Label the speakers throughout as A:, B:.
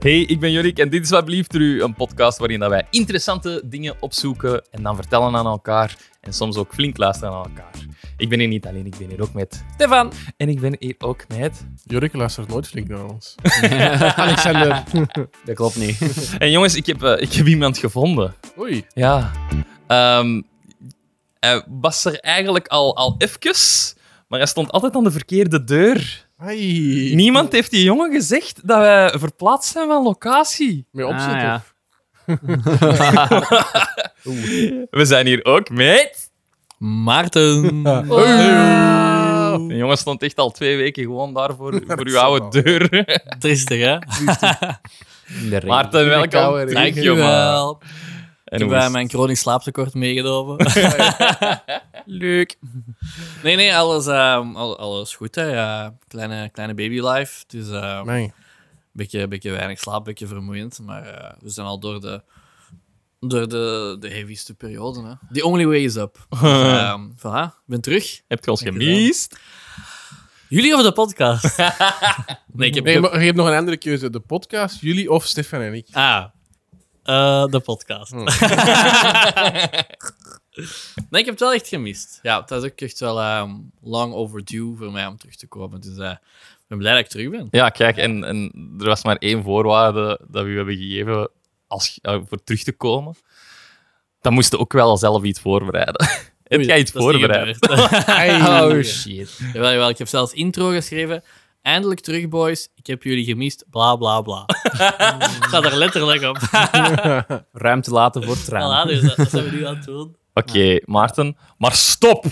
A: Hey, ik ben Jorik en dit is Wat Blieft er U, een podcast waarin dat wij interessante dingen opzoeken en dan vertellen aan elkaar en soms ook flink luisteren aan elkaar. Ik ben hier niet alleen, ik ben hier ook met Stefan en ik ben hier ook met...
B: Jorik luistert nooit flink naar ons.
C: Alexander. Dat klopt niet.
A: En jongens, ik heb, eh, ik heb iemand gevonden.
B: Oei.
A: Ja. Ehm, hij was er eigenlijk al, al even, maar hij stond altijd aan de verkeerde deur.
B: Ai.
A: Niemand heeft die jongen gezegd dat wij verplaatst zijn van locatie.
B: Meer opzet.
C: Ah, ja.
B: of-
A: We zijn hier ook met...
C: Maarten.
A: De jongen stond echt al twee weken gewoon daar voor, voor uw oude
B: zal
A: deur.
C: Triestig, hè?
A: Maarten,
B: In de
A: welkom.
B: koude regen.
A: Dank je, man.
C: Dankjewel.
A: En
C: Ik heb
A: hoe is
C: eh,
A: het?
C: mijn chronisch slaaptekort meegenomen. Leuk. Nee, nee, alles, ehm, al- alles goed. Hè. Ja, kleine, kleine babylife. Dus eh, een
B: Amai.
C: beetje, beetje weinig slaap, een beetje vermoeiend. Maar eh, we zijn al door de, door de, de heavyste periode. Hè. The only way is up. Dus, ehm, voilà, ik ben terug.
A: Heb je ons
C: Dank je
A: gemist?
C: Jullie over de podcast? nee, ik heb...
B: Nee, maar je hebt nog een andere keuze. De podcast, jullie of Stefan en ik.
C: Ah. Eh, de podcast.
B: Hmm.
C: nee, ik heb het wel echt gemist. Ja, het was ook echt wel ehm, long overdue voor mij om terug te komen. Dus eh, ik ben blij dat ik terug ben.
A: Ja, kijk, en, en er was maar één voorwaarde dat we u hebben gegeven als, eh, voor terug te komen. Dan moest je ook wel zelf iets voorbereiden. Heb
C: Oei,
A: jij iets
C: dat is niet
A: voorbereid?
C: gebeurd.
B: Ai.
A: shit.
C: jawel, jawel, ik heb zelfs intro geschreven. Eindelijk terug, boys. Ik heb jullie gemist. Bla, bla, bla. Staat er letterlijk op.
D: Ruimte laten voor tranen.
C: Voilà, dus dat, dat zijn we nu aan het doen.
A: Oké, Maarten, maar stop!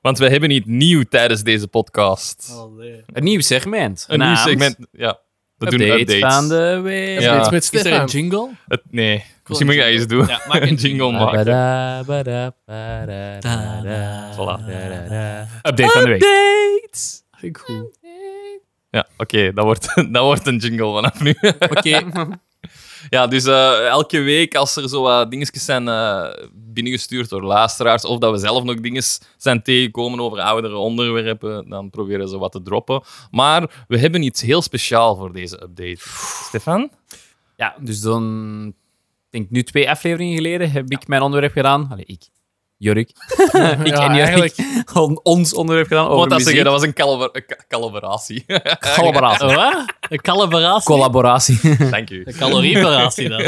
A: Want we hebben niet nieuw tijdens deze podcast.
C: Oh, nee.
D: Een nieuw segment.
A: Een nieuw
D: Naamd
A: segment. Ja, we doen
D: Updates
A: updates.
D: van de week.
A: Ja.
B: Iets met
C: Is er een
B: Stefan.
C: jingle?
A: Het- nee,
C: Cool,
A: misschien moet jij
C: jingle.
A: eens doen.
C: Ja, maak een
A: een jingle
C: jingle.
A: maken.
D: Bada, bada, bada,
C: Da,
D: bada,
A: Voilà.
D: bada, bada.
A: Update van de week.
D: Updates.
C: Vind ik goed.
A: Ja, oké, dat, wordt, dat wordt een jingle vanaf nu.
C: Oké.
A: Ja, dus eh, elke week als er zo wat dingetjes zijn eh, binnengestuurd door luisteraars, of dat we zelf nog dingen zijn tegengekomen over oudere onderwerpen, dan proberen ze wat te droppen. Maar we hebben iets heel speciaal voor deze update. Stefan?
D: Ja, dus dan... Ik denk nu twee afleveringen geleden heb ik mijn onderwerp gedaan. Allee, ik. Jorik. ik en Jorik.
B: eigenlijk.
D: On- ons onderwerp gedaan over
A: Wat dat
D: muziek.
A: zeggen, dat was een calabra- eh, ca- collaboratie.
D: Collaboratie.
C: Wat? Een calibratie?
D: Collaboratie.
A: Dank u.
C: Een calorieparatie dan.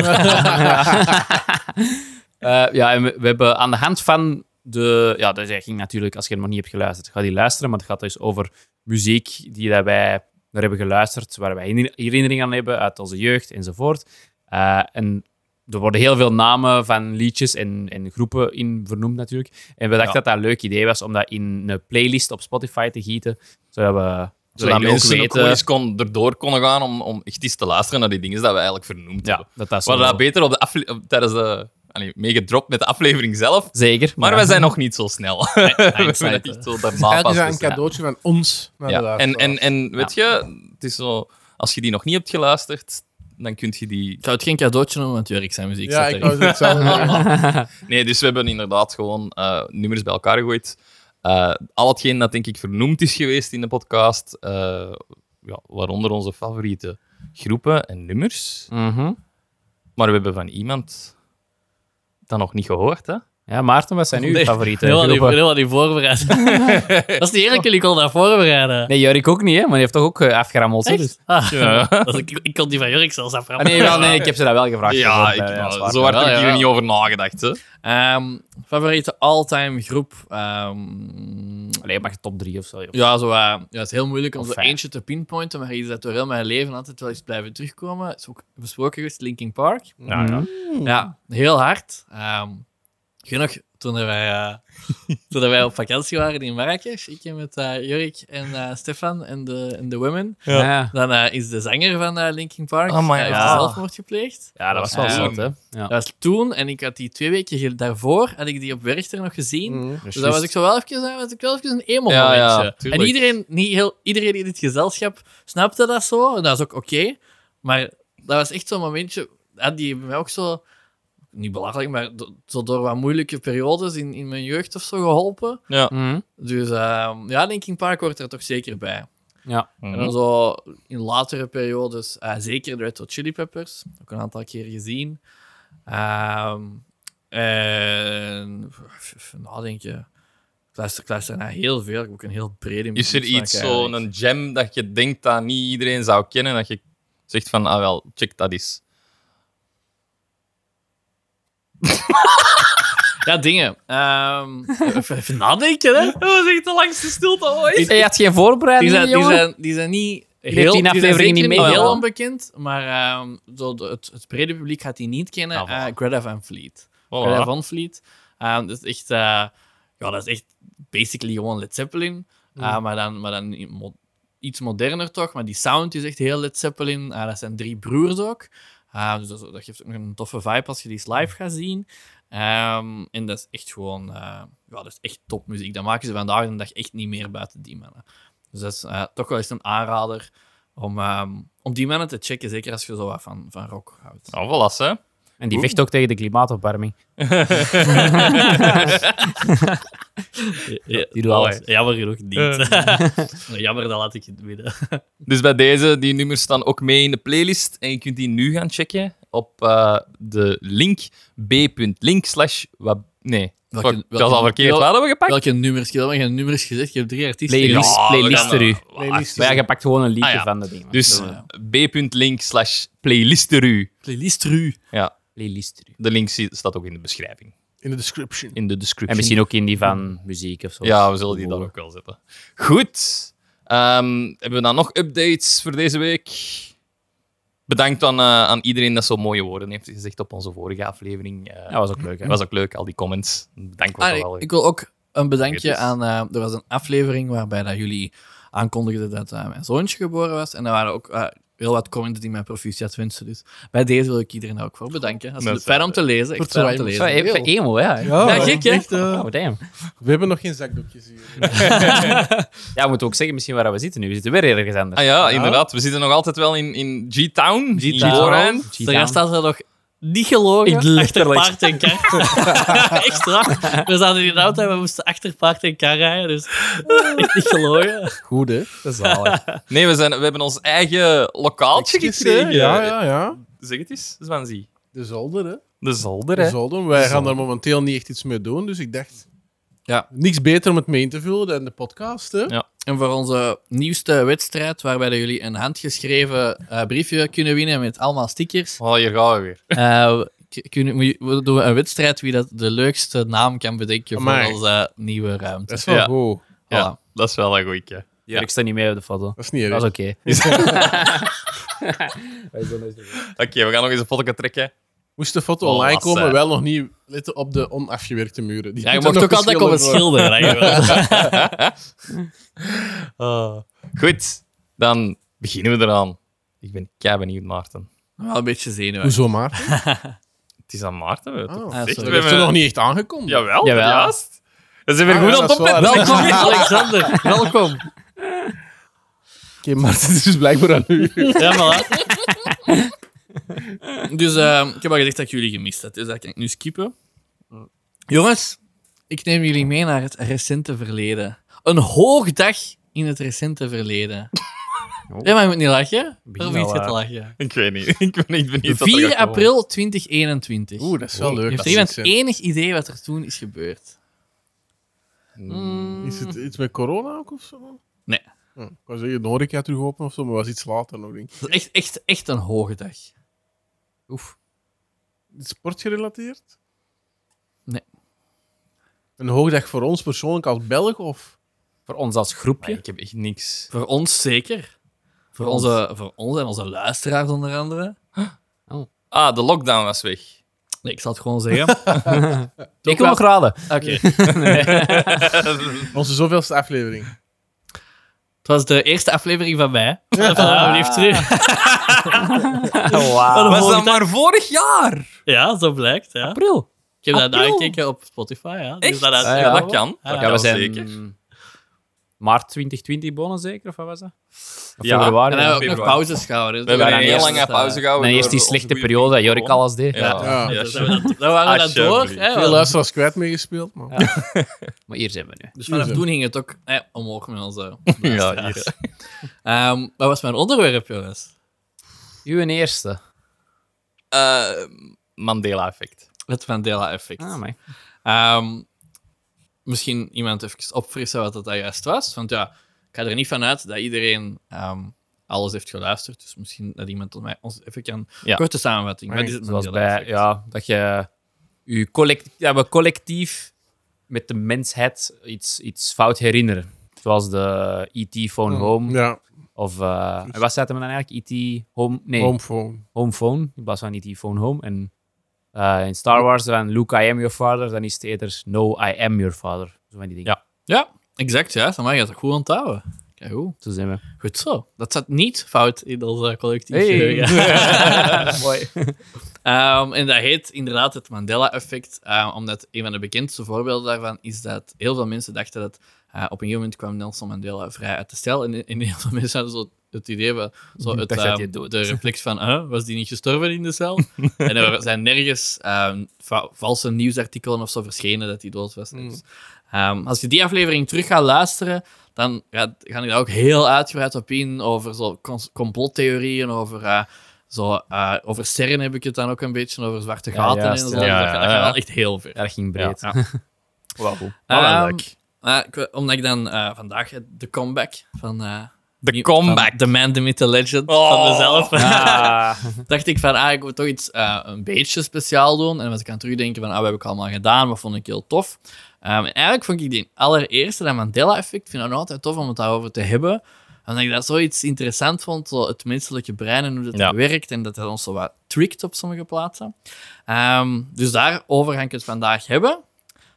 D: Eh, ja, en we, we hebben aan de hand van de... Ja, dat is eigenlijk natuurlijk, als je nog niet hebt geluisterd, ga die luisteren. Maar het gaat dus over muziek die dat wij naar hebben geluisterd, waar wij herinner- herinneringen aan hebben uit onze jeugd enzovoort. Eh, en er worden heel veel namen van liedjes en, en groepen in vernoemd natuurlijk. En we dachten
A: Ja.
D: dat dat een leuk idee was om dat in een playlist op Spotify te gieten, zodat we...
A: Zodat
D: Zodat
A: mensen
D: mensen
A: ook
D: ook
A: gewoon
D: weten-
A: eens kon, erdoor konden gaan om, om echt eens te luisteren naar die dingen dat we eigenlijk vernoemd
D: Ja,
A: hebben.
D: dat dat
A: We
D: zo...
A: hadden dat beter op de afle- op- tijdens de... Allee, meegedropt met de aflevering zelf.
D: Zeker.
A: Maar
D: ja.
A: wij zijn nog niet zo snel. we hebben
D: hindsight,
A: het echt
D: hè.
A: zo daarna
B: Eigenlijk
A: pas
B: is dat een
A: gedaan.
B: cadeautje van ons naar de
A: Ja. En, en,
B: luisteraars.
A: en weet je, het is zo, als je die nog niet hebt geluisterd, dan kun je die...
C: Ik zou het geen cadeautje noemen, want Jurk zijn muziek
B: ja,
C: zat
B: ik
C: erin.
B: wou het zelf
A: Nee, dus we hebben inderdaad gewoon eh, nummers bij elkaar gegooid. Eh, al hetgeen dat denk ik vernoemd is geweest in de podcast, eh, ja, waaronder onze favoriete groepen en nummers.
D: Mhm.
A: Maar we hebben van iemand dat nog niet gehoord, hè?
D: Ja, Maarten, wat zijn uw
C: Nee,
D: favoriete
C: Heel wat die-
D: groepen?
C: heel wat die voorbereid. dat is niet eerlijk, jullie konden dat voorbereiden.
D: Nee, Jorik ook niet, hè? Maar die heeft toch ook eh, afgerammeld, hè? Dus-
C: Echt? Ah,
A: Ja.
C: dat is- ik, ik kon die van Jurk zelfs
D: Ah,
C: aframmen.
D: nee, wel, nee, ik heb ze dat wel gevraagd.
A: Ja,
D: bijvoorbeeld,
A: ik-
D: eh, dat is
A: nou,
D: waar.
A: zo hard heb ik
C: Ja,
A: hier
C: ja.
A: niet over nagedacht, hè?
C: Ehm, favoriete all-time groep? ehm,
D: Allee, maar top drie of zo. joh.
C: ja, zo, eh, ja, het is heel moeilijk om
D: Of
C: zo
D: vijf.
C: eentje te pinpointen, maar iets dat door heel mijn leven altijd wel eens blijven terugkomen. Het is ook besproken geweest, Linkin Park.
A: Ja, ja.
C: Ja, heel hard. Ehm ik weet nog, toen dat wij, eh, toen dat wij op vakantie waren in Marrakesh, ik en met eh Jurik en eh, Stefan en de, en de women,
D: Ja. Ja.
C: dan eh, is de zanger van eh, Linkin Park
A: Oh my
C: eh, heeft
A: God.
C: zelfmoord gepleegd.
D: ja, dat was wel
C: Ja.
D: zot, hè? Ja.
C: Dat was toen, en ik had die twee weken ge- daarvoor, had ik die op Werchter nog
B: Mm.
C: gezien.
D: Dus
C: Dus daar was ik zo wel even, daar was ik wel even een emo momentje.
A: Ja, ja, tuurlijk.
C: en iedereen, niet heel, iedereen in dit gezelschap snapte dat zo. En dat is ook oké. maar dat was echt zo'n momentje. Had die bij mij ook zo, niet belachelijk, maar do- zo door wat moeilijke periodes in, in mijn jeugd of zo geholpen.
A: ja.
D: Mhm.
C: Dus ehm, ja, Linkin Park hoort er toch zeker bij.
D: Ja.
A: Mhm.
C: En dan zo in latere periodes, eh, zeker de Red Hot Chili Peppers, ook een aantal keer gezien. Ehm en nadenken, ik luister, ik luister naar heel veel, ik heb ook een heel brede
A: Is er
C: muzieksmaak
A: iets,
C: eigenlijk.
A: zo'n gem dat je denkt dat niet iedereen zou kennen, dat je zegt van, ah wel, check dat eens.
C: Ja, dingen. Ehm, even, even nadenken, hè.
A: Dat was echt de langste stilte ooit.
D: Je had geen
C: Die
D: voorbereiding,
C: zijn, die
D: jongen?
C: zijn, die zijn niet
D: hebt
C: heel,
D: die
C: die zijn
D: aflevering
C: zeker
D: niet
C: niet
D: meegedaan.
C: heel onbekend, maar ehm, zo de- het, het brede publiek gaat die niet kennen.
A: Ah, voilà.
C: Eh, Greta Van Fleet. Greta Van Fleet. Ehm, dat is echt, eh, ja, dat is echt basically gewoon Led Zeppelin. Eh, maar dan, maar dan in mo- iets moderner toch. Maar die sound is echt heel Led Zeppelin. Eh, dat zijn drie broers ook. Eh, dus dat, dat geeft ook nog een toffe vibe als je die eens live gaat zien. Ehm, en dat is echt gewoon, eh, ja, dat is echt topmuziek. Dat maken ze vandaag de dag echt niet meer buiten die mannen. Dus dat is eh, toch wel eens een aanrader om, ehm, om die mannen te checken. Zeker als je zo wat van, van rock houdt.
A: Nou, voilà, hè.
D: En die vecht ook tegen de klimaatopwarming.
C: Ja,
D: die doen alles.
C: Jammer genoeg niet. Jammer, dat laat ik het midden.
A: Dus bij deze, die nummers staan ook mee in de playlist. En je kunt die nu gaan checken op eh, de link b.link slash... wa- Nee,
C: Welke-
A: Fuck,
C: welke-
A: dat is al verkeerd.
C: wel-
A: Wat hadden we gepakt?
C: Welke nummers? Je hebt geen nummers gezegd. Je hebt drie artiesten.
D: Playlist,
A: Ja, we
D: playlist
A: gaan,
D: er u.
A: eh, wacht.
B: Playlist.
D: Maar ja, je pakt gewoon een liedje
A: Ah, ja.
D: van de dingen.
A: Dus b.link slash playlisteru.
C: Playlist Ru.
A: Ja,
D: playlist er u.
A: de link zi- staat ook in de beschrijving.
B: In de description.
A: In de
D: En
A: description.
D: misschien ook in die van muziek of zo.
A: Ja, we zullen die dan ook wel zetten. Goed. Ehm, hebben we dan nog updates voor deze week? Bedankt aan, eh, aan iedereen dat zo mooie woorden heeft gezegd op onze vorige aflevering. Eh,
D: Ja, was ook leuk. Hè?
A: was ook leuk, al die comments. Bedankt
C: Ah,
A: wel.
C: nee, ik wil ook een bedankje
A: Vergeet
C: aan. eh, er was een aflevering waarbij dat jullie aankondigden dat eh, mijn zoontje geboren was. En er waren ook eh, heel wat comments die mij proficiat wensen. Dus bij deze wil ik iedereen daar ook voor bedanken. Dat is
A: Mensen,
C: fijn om te lezen. Echt
B: wordt
C: fijn om te
B: zo
D: Zo,
C: lezen.
D: even
B: heel.
D: emo, ja.
C: Ja, gek, hè?
B: echt, eh,
D: Oh, damn.
B: we hebben nog geen zakdoekjes hier.
D: Ja, we moeten ook zeggen misschien waar we zitten nu. We zitten weer ergens anders.
A: Ah ja, inderdaad. We zitten nog altijd wel in, in G-Town. in
D: G-Town.
A: Lorraine.
D: G-Town.
C: De rest staat er nog niet gelogen.
D: Ik
C: achter
D: letterlijk.
C: paard en kar. Echt straf. We zaten in de auto en we moesten achter paard en kar rijden. Dus echt niet gelogen.
B: Goed, hè?
D: Dat is zalig.
A: Nee, we, zijn, we hebben ons eigen lokaaltje gekregen.
B: Ja, ja, ja.
A: Zeg het eens, Zwanzi.
B: De zolder, hè?
A: De zolder,
B: De
A: hè?
B: zolder. Wij gaan
A: zolder.
B: daar momenteel niet echt iets mee doen, dus ik dacht...
C: Ja.
B: Niks beter om het mee in te vullen dan de podcast, hè?
A: Ja.
C: En voor onze nieuwste wedstrijd, waarbij dat jullie een handgeschreven eh, briefje kunnen winnen met allemaal stickers,
A: Oh, hier gaan we weer.
C: eh, k- kunnen, moet je- we doen een wedstrijd wie dat de leukste naam kan bedenken voor
B: Amai.
C: onze nieuwe ruimte.
B: Dat is wel
A: Ja.
B: goed.
A: Ja,
C: Voilà.
A: dat is wel een goeie. Ja.
D: Ik sta niet mee op de foto.
B: Dat is niet erg.
D: Dat is oké.
A: Oké, we gaan nog eens een foto trekken.
B: Moest de foto
A: Oh,
B: online
A: was,
B: komen,
A: eh.
B: wel nog niet letten op de onafgewerkte muren. Die
C: Ja, je
B: moeten
C: mag
B: nog
C: ook altijd komen
B: geschilderd worden.
C: schilderen. hè, jawel.
A: Goed, dan beginnen we eraan. Ik ben kei benieuwd, Maarten.
C: Wel een beetje zenuwachtig.
B: Hoezo maar?
A: Het is aan Maarten. We
B: Oh.
A: toch
C: Ah,
A: gezegd? We
C: sorry.
B: Dat heeft ze
A: hebben-
B: nog niet echt aangekondigd.
A: Jawel,
D: Jawel.
A: juist. Dat zijn weer
B: Ah,
A: goed
B: ja,
A: aan het
B: dat is
A: opletten.
B: waar.
A: Welkom.
C: Alexander, welkom.
B: Oké, maar het is dus blijkbaar aan u.
C: Ja, voilà. dus eh, ik heb al gezegd dat ik jullie gemist had, dus dat kan ik nu skippen. Jongens, ik neem jullie mee naar het recente verleden. Een hoogdag in het recente verleden. Ja, maar je moet niet lachen.
D: Begin
C: Waarom niet
D: al,
C: je te
D: eh,
C: lachen?
A: Ik weet niet. Ik ben niet benieuwd. wat er
C: 4
A: gaat komen.
C: april 2021.
B: Oeh, dat is wel leuk.
C: Heeft
B: Dat
C: er iemand
B: is iets,
C: enig idee wat er toen is gebeurd?
B: hè. Is het iets met corona ook of zo?
C: Nee.
B: Hm. Ik wou zeggen, de horeca terug open of zo, maar was iets later nog, denk ik.
C: Dat is echt, echt, echt een hoge dag. Oef.
B: Sportgerelateerd?
C: Nee.
B: Een hoogdag voor ons persoonlijk als Belg of...
D: Voor ons als
A: Maar
D: groepje.
A: Ik heb echt niks.
C: Voor ons zeker. Voor,
D: ons.
C: onze, voor ons en onze luisteraars onder andere.
A: Ah, de lockdown was weg.
C: Nee, ik zal het gewoon zeggen.
D: Ik wil nog raden.
C: Oké.
B: Onze zoveelste aflevering.
C: Het was de eerste aflevering van mij. Vandaar lief terug.
D: Wauw.
A: was dat
C: volgende-
A: maar vorig jaar?
C: Ja, zo blijkt. Ja.
D: April.
C: Ik heb dat
D: April.
C: aangekeken op Spotify. Ja. Dus
A: Ah, Echt?
C: dat,
D: Ah,
A: ja,
D: ja.
A: dat kan.
C: Ja,
A: dat
D: Ja,
A: kan
D: we zijn
A: zeker.
D: maart 2020 bonnen zeker, of wat was dat? Of
A: Ja.
D: februari.
C: En dan hebben we ook nog
A: Februari.
C: pauzes gehouden.
A: We hebben een heel lange
C: eerst, eh,
A: pauze
D: En
A: gehouden.
D: eerst die
A: door de-
D: slechte
A: op goede
D: periode dat
A: piek te
D: Jorik
A: komen.
D: alles deed.
A: Ja.
B: Ja.
A: Ja,
C: dus dan hebben we dat- Dan waren we dat door.
A: Alsjeblieft.
C: Hè,
B: Veel
C: want-
B: luisteraars kwijt meegespeeld, maar...
D: Maar hier zijn we nu.
C: dus vanaf
B: Hier zo.
C: toen ging het ook eh, omhoog met onze
A: Ja,
C: luisteraars.
A: hier.
C: Eh, Ehm, wat was mijn onderwerp, jongens?
D: Uw eerste.
A: Eh, Mandela-effect.
C: Het Mandela-effect.
D: Ah, maar.
C: Ehm, misschien iemand even opfrissen wat dat daar juist was. Want ja, ik ga er niet van uit dat iedereen ehm, alles heeft geluisterd. Dus misschien dat iemand tot mij ons even kan...
A: Ja.
C: Korte samenvatting. Wat is het
D: Zoals bij,
C: Mandela-effect?
D: ja, dat je je collect, ja, we collectief met de mensheid iets, iets fout herinneren. Zoals de E.T. Phone Home.
B: Oh, Ja,
D: Of, eh, en wat staat hem dan eigenlijk? E.T. Home? Nee, Home,
B: homephone.
D: Phone. In plaats van E.T. Phone Home. En eh, in Star Wars dan Luke, I am your father. Dan is het eerder No, I am your father. Zo van die dingen.
A: Ja.
C: Ja, exact. Ja, dan mag je dat goed onthouden. Kijk, goed.
D: Zo zijn we.
C: Goed zo. Dat zat niet fout in onze collectief geheugen.
D: Mooi.
C: Ehm, en dat heet inderdaad het Mandela-effect, eh, omdat een van de bekendste voorbeelden daarvan is dat heel veel mensen dachten dat eh, op een gegeven moment kwam Nelson Mandela vrij uit de cel. En, en heel veel mensen hadden zo het idee van zo het,
D: dacht dat
C: ehm,
D: hij dood
C: de reflex van, huh, was die niet gestorven in de cel? en er zijn nergens ehm, va- valse nieuwsartikelen of zo verschenen dat hij dood was.
D: Mm.
C: Dus, ehm, als je die aflevering terug gaat luisteren, dan gaat, gaan die daar ook heel uitgebreid op in over zo cons- complottheorieën, over... eh, zo, eh, over sterren heb ik het dan ook een beetje, over zwarte
D: Ja,
C: gaten
D: juist,
C: en zo. Dus
D: ja.
C: Dat
A: Ja,
C: gaat- dat
A: ja,
C: gaat
A: ja.
C: wel echt heel ver.
D: Ja, dat ging breed.
A: Ja.
D: Wauw.
A: Maar wel
C: Ehm,
A: leuk.
C: maar ik wil- omdat ik dan eh, vandaag het- de comeback van... eh,
A: De
C: nieuw-
A: comeback.
C: van The Man, The Myth, The Legend
A: Oh.
C: van mezelf.
D: Ah.
C: dacht ik van, ah, ik moet toch iets eh, een beetje speciaal doen. En was ik aan het terugdenken van, ah, wat heb ik allemaal gedaan? Wat vond ik heel tof? Ehm, en eigenlijk vond ik die allereerste, dat Mandela-effect, vind ik nog altijd tof om het daarover te hebben. Omdat ik dat zoiets interessant vond, zo het menselijke brein en hoe dat
A: Ja.
C: werkt. En dat dat ons zo wat trickt op sommige plaatsen. Ehm, dus daarover ga ik het vandaag hebben.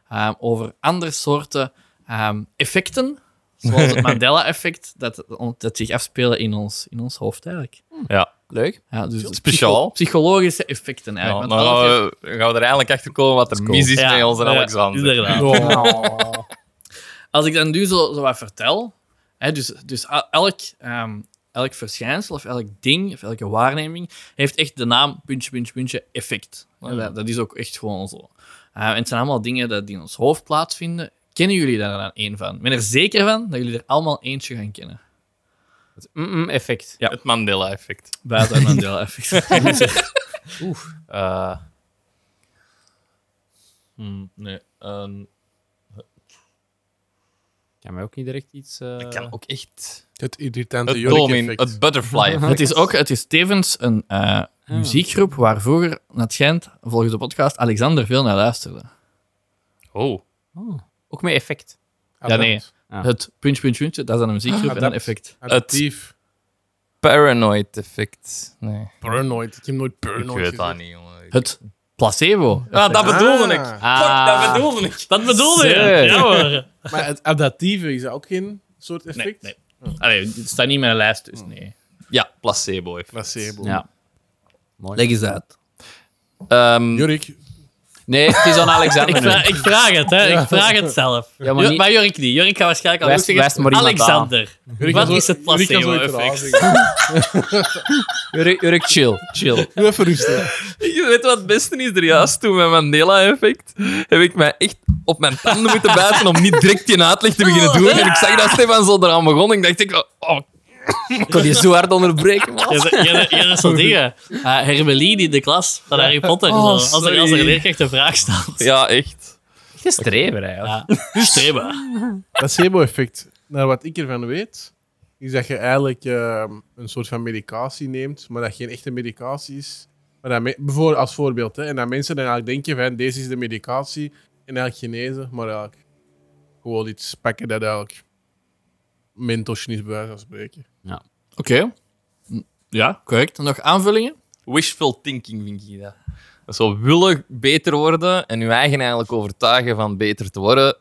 C: Ehm, over andere soorten ehm, effecten, zoals het Mandela-effect, dat, dat zich afspelen in ons, in ons hoofd eigenlijk.
A: Ja.
D: Leuk.
C: Ja, dus
A: Speciaal.
C: psycho- Psychologische effecten
A: Ja,
C: eigenlijk.
A: Nou, dan
C: want
A: gaan
C: alles-
A: we, gaan we er eigenlijk achter komen wat er mis is
C: Ja,
A: bij ons en
C: ja,
A: Alexander.
C: inderdaad. Als ik dan nu zo, zo wat vertel, hè, dus, dus a- elk, ehm, elk verschijnsel of elk ding of elke waarneming heeft echt de naam puntje, puntje, puntje effect. Hè, dat, dat is ook echt gewoon zo. Eh, en het zijn allemaal dingen dat die in ons hoofd plaatsvinden. Kennen jullie daar dan één van? Ik ben er zeker van dat jullie er allemaal eentje gaan kennen.
D: Het mm-mm Hm, effect.
A: Ja. Het Mandela-effect.
C: Buiten een Mandela-effect.
D: Eh,
A: nee.
D: kan mij ook niet direct iets... eh,
A: dat kan ook echt.
B: Het irritante
A: Het, domin,
B: jurk-effect.
A: het butterfly.
C: Het is ook, het is tevens een eh, muziekgroep waar vroeger, naar het schijnt, volgens de podcast, Alexander veel naar luisterde.
A: Oh.
D: oh, ook met effect.
C: Ja, nee.
D: Ah.
C: Het puntje, puntje, puntje, dat is dan een muziekgroep
B: Ah,
C: en een
B: dat-
C: effect.
B: Adaptief.
A: Paranoid-effect. Nee.
B: Paranoid. Ik heb nooit paranoid
A: ik weet dat
B: gezien.
A: niet, jongen.
C: Het placebo.
A: Ah, dat bedoelde ik.
B: Ah.
D: Ah.
A: Fuck, dat bedoelde ik.
C: dat bedoelde
D: Zeur.
C: hoor.
B: Maar het adaptieve is ook geen soort
C: Nee,
B: effect?
C: nee. Allee, het staat niet in mijn lijst, dus nee.
A: Ja, placebo-effect.
B: Placebo.
D: Ja.
C: Leg eens uit.
A: Ehm,
B: Jurk,
D: Nee, het is aan
C: Ik,
D: Alexander. nu.
C: vra- ik vraag het, hè. Ik vraag het zelf.
D: Ja,
C: Ja,
D: maar
C: maar,
D: niet-
C: Jorik niet. Jorik gaat waarschijnlijk al
D: Wijs-
C: goed zeggen,
D: wijs maar iemand aan.
C: Alexander.
B: Jurk
C: Wat
B: kan zo-
C: is het
B: Jurk kan zo
C: placebo-effect?
B: iets raars zeggen.
D: Urk, Urk, chill. Chill.
B: Doe even rustig.
A: Je weet wat het beste is er juist toen met Mandela-effect. Heb ik mij echt op mijn tanden moeten bijten om niet direct die uitleg te beginnen doen. En ik zag dat Stefan zo eraan begon. Ik dacht, ik, oh,
D: Ik kon je zo hard onderbreken, man.
C: Je is zo dingen. Eh Hermeline in de klas van Harry Potter.
A: Oh,
C: zo. als, er, als er
A: sorry.
C: een leerkracht een vraag stelt.
A: ja, echt.
D: Je strever, eigenlijk.
C: Ja. Streba.
B: Placebo-effect. Naar wat ik ervan weet, is dat je eigenlijk ehm, een soort van medicatie neemt, maar dat geen echte medicatie is. Maar dat me- bijvoorbeeld als voorbeeld. Hè, en dat mensen dan eigenlijk denken van, deze is de medicatie, en eigenlijk genezen, maar eigenlijk gewoon iets pakken dat eigenlijk mentosje is bij wijze van spreken.
C: Oké. Ja, correct. Nog aanvullingen?
A: Wishful thinking vind ik dat. Dat Zo willen beter worden en je eigen eigenlijk overtuigen van beter te worden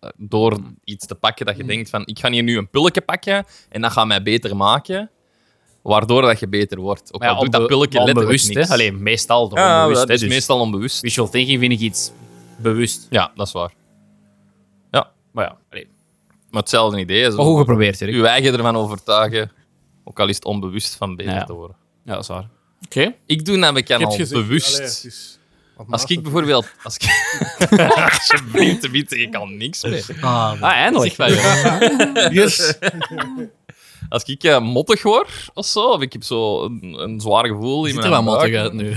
A: eh, door iets te pakken dat je denkt van, ik ga hier nu een pilletje pakken en dat gaat mij beter maken. Waardoor dat je beter wordt. Ook
D: Maar
A: al doet dat
D: onbe-
A: pilletje letterlijk
D: onbewust,
A: niks.
D: hè. Allee, meestal toch
A: ja,
D: onbewust,
A: dat
D: hè.
A: is
D: Dus
A: meestal onbewust.
D: Visual thinking vind ik iets bewust.
A: Ja, dat is waar.
D: Maar ja, allee.
A: Maar hetzelfde idee is
D: Maar Oh, goed geprobeerd, Urk.
A: je eigen ervan overtuigen, ook al is het onbewust, van beter
D: Ja.
A: te worden.
D: Ja, dat is waar.
C: Oké.
A: Ik doe namelijk aan
B: Ik heb
A: al
B: gezegd,
A: bewust.
B: allee, het is-
A: Als ik bijvoorbeeld... Als ik... Alsjeblieft, te bieden, ik kan niks meer.
C: Ah,
D: Ah, eindelijk.
A: Zeg maar, jongen. Als ik eh, mottig word of zo, of ik heb zo een, een zwaar gevoel in
C: ziet er
A: mijn
C: wel
A: buik.
C: mottig uit nu.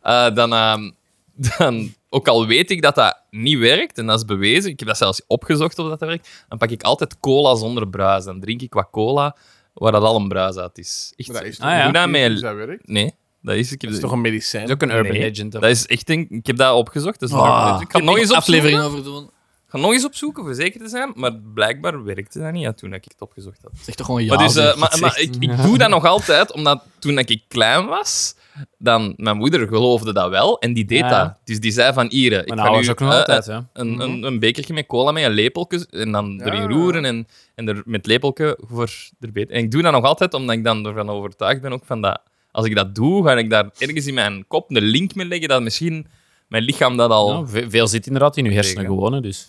A: Eh, dan, ehm, dan, ook al weet ik dat dat niet werkt, en dat is bewezen, ik heb dat zelfs opgezocht of dat, dat werkt, dan pak ik altijd cola zonder bruis. Dan drink ik wat cola waar dat al een bruis uit is. Echt,
B: Dat is
D: Ah, ja.
A: Doe dat
B: mee.
A: met...
B: Dat werkt.
A: Nee, dat is... Ik heb
B: Dat is toch een medicijn?
D: Dat is ook een urban
A: Nee,
D: legend.
A: dat is echt een, ik heb dat opgezocht. Dus
C: Ah.
A: ik ga nog eens opzoeken.
C: aflevering over doen.
A: Ik ga nog eens opzoeken voor zeker te zijn, maar blijkbaar werkte dat niet ja, toen ik het opgezocht had.
C: Zeg toch gewoon ja.
A: Maar, dus, eh,
C: zeg.
A: maar, maar ik, ik doe dat nog altijd, omdat toen ik klein was, dan, mijn moeder geloofde dat wel en die deed
D: Ja.
A: dat. Dus die zei van, hier, ik
D: Mijn
A: ga nu
D: ouders ook nog
A: eh,
D: altijd, Mhm.
A: eh,
D: hè.
A: een, een, een bekertje met cola met een lepeltje en dan
B: Ja.
A: erin roeren en, en er met lepeltje voor er beter. En ik doe dat nog altijd, omdat ik dan ervan overtuigd ben ook van dat, als ik dat doe, ga ik daar ergens in mijn kop een link mee leggen dat misschien mijn lichaam dat al...
D: Ja, Nou, ve- veel zit inderdaad in uw hersenen
A: Tegen.
D: gewonnen, dus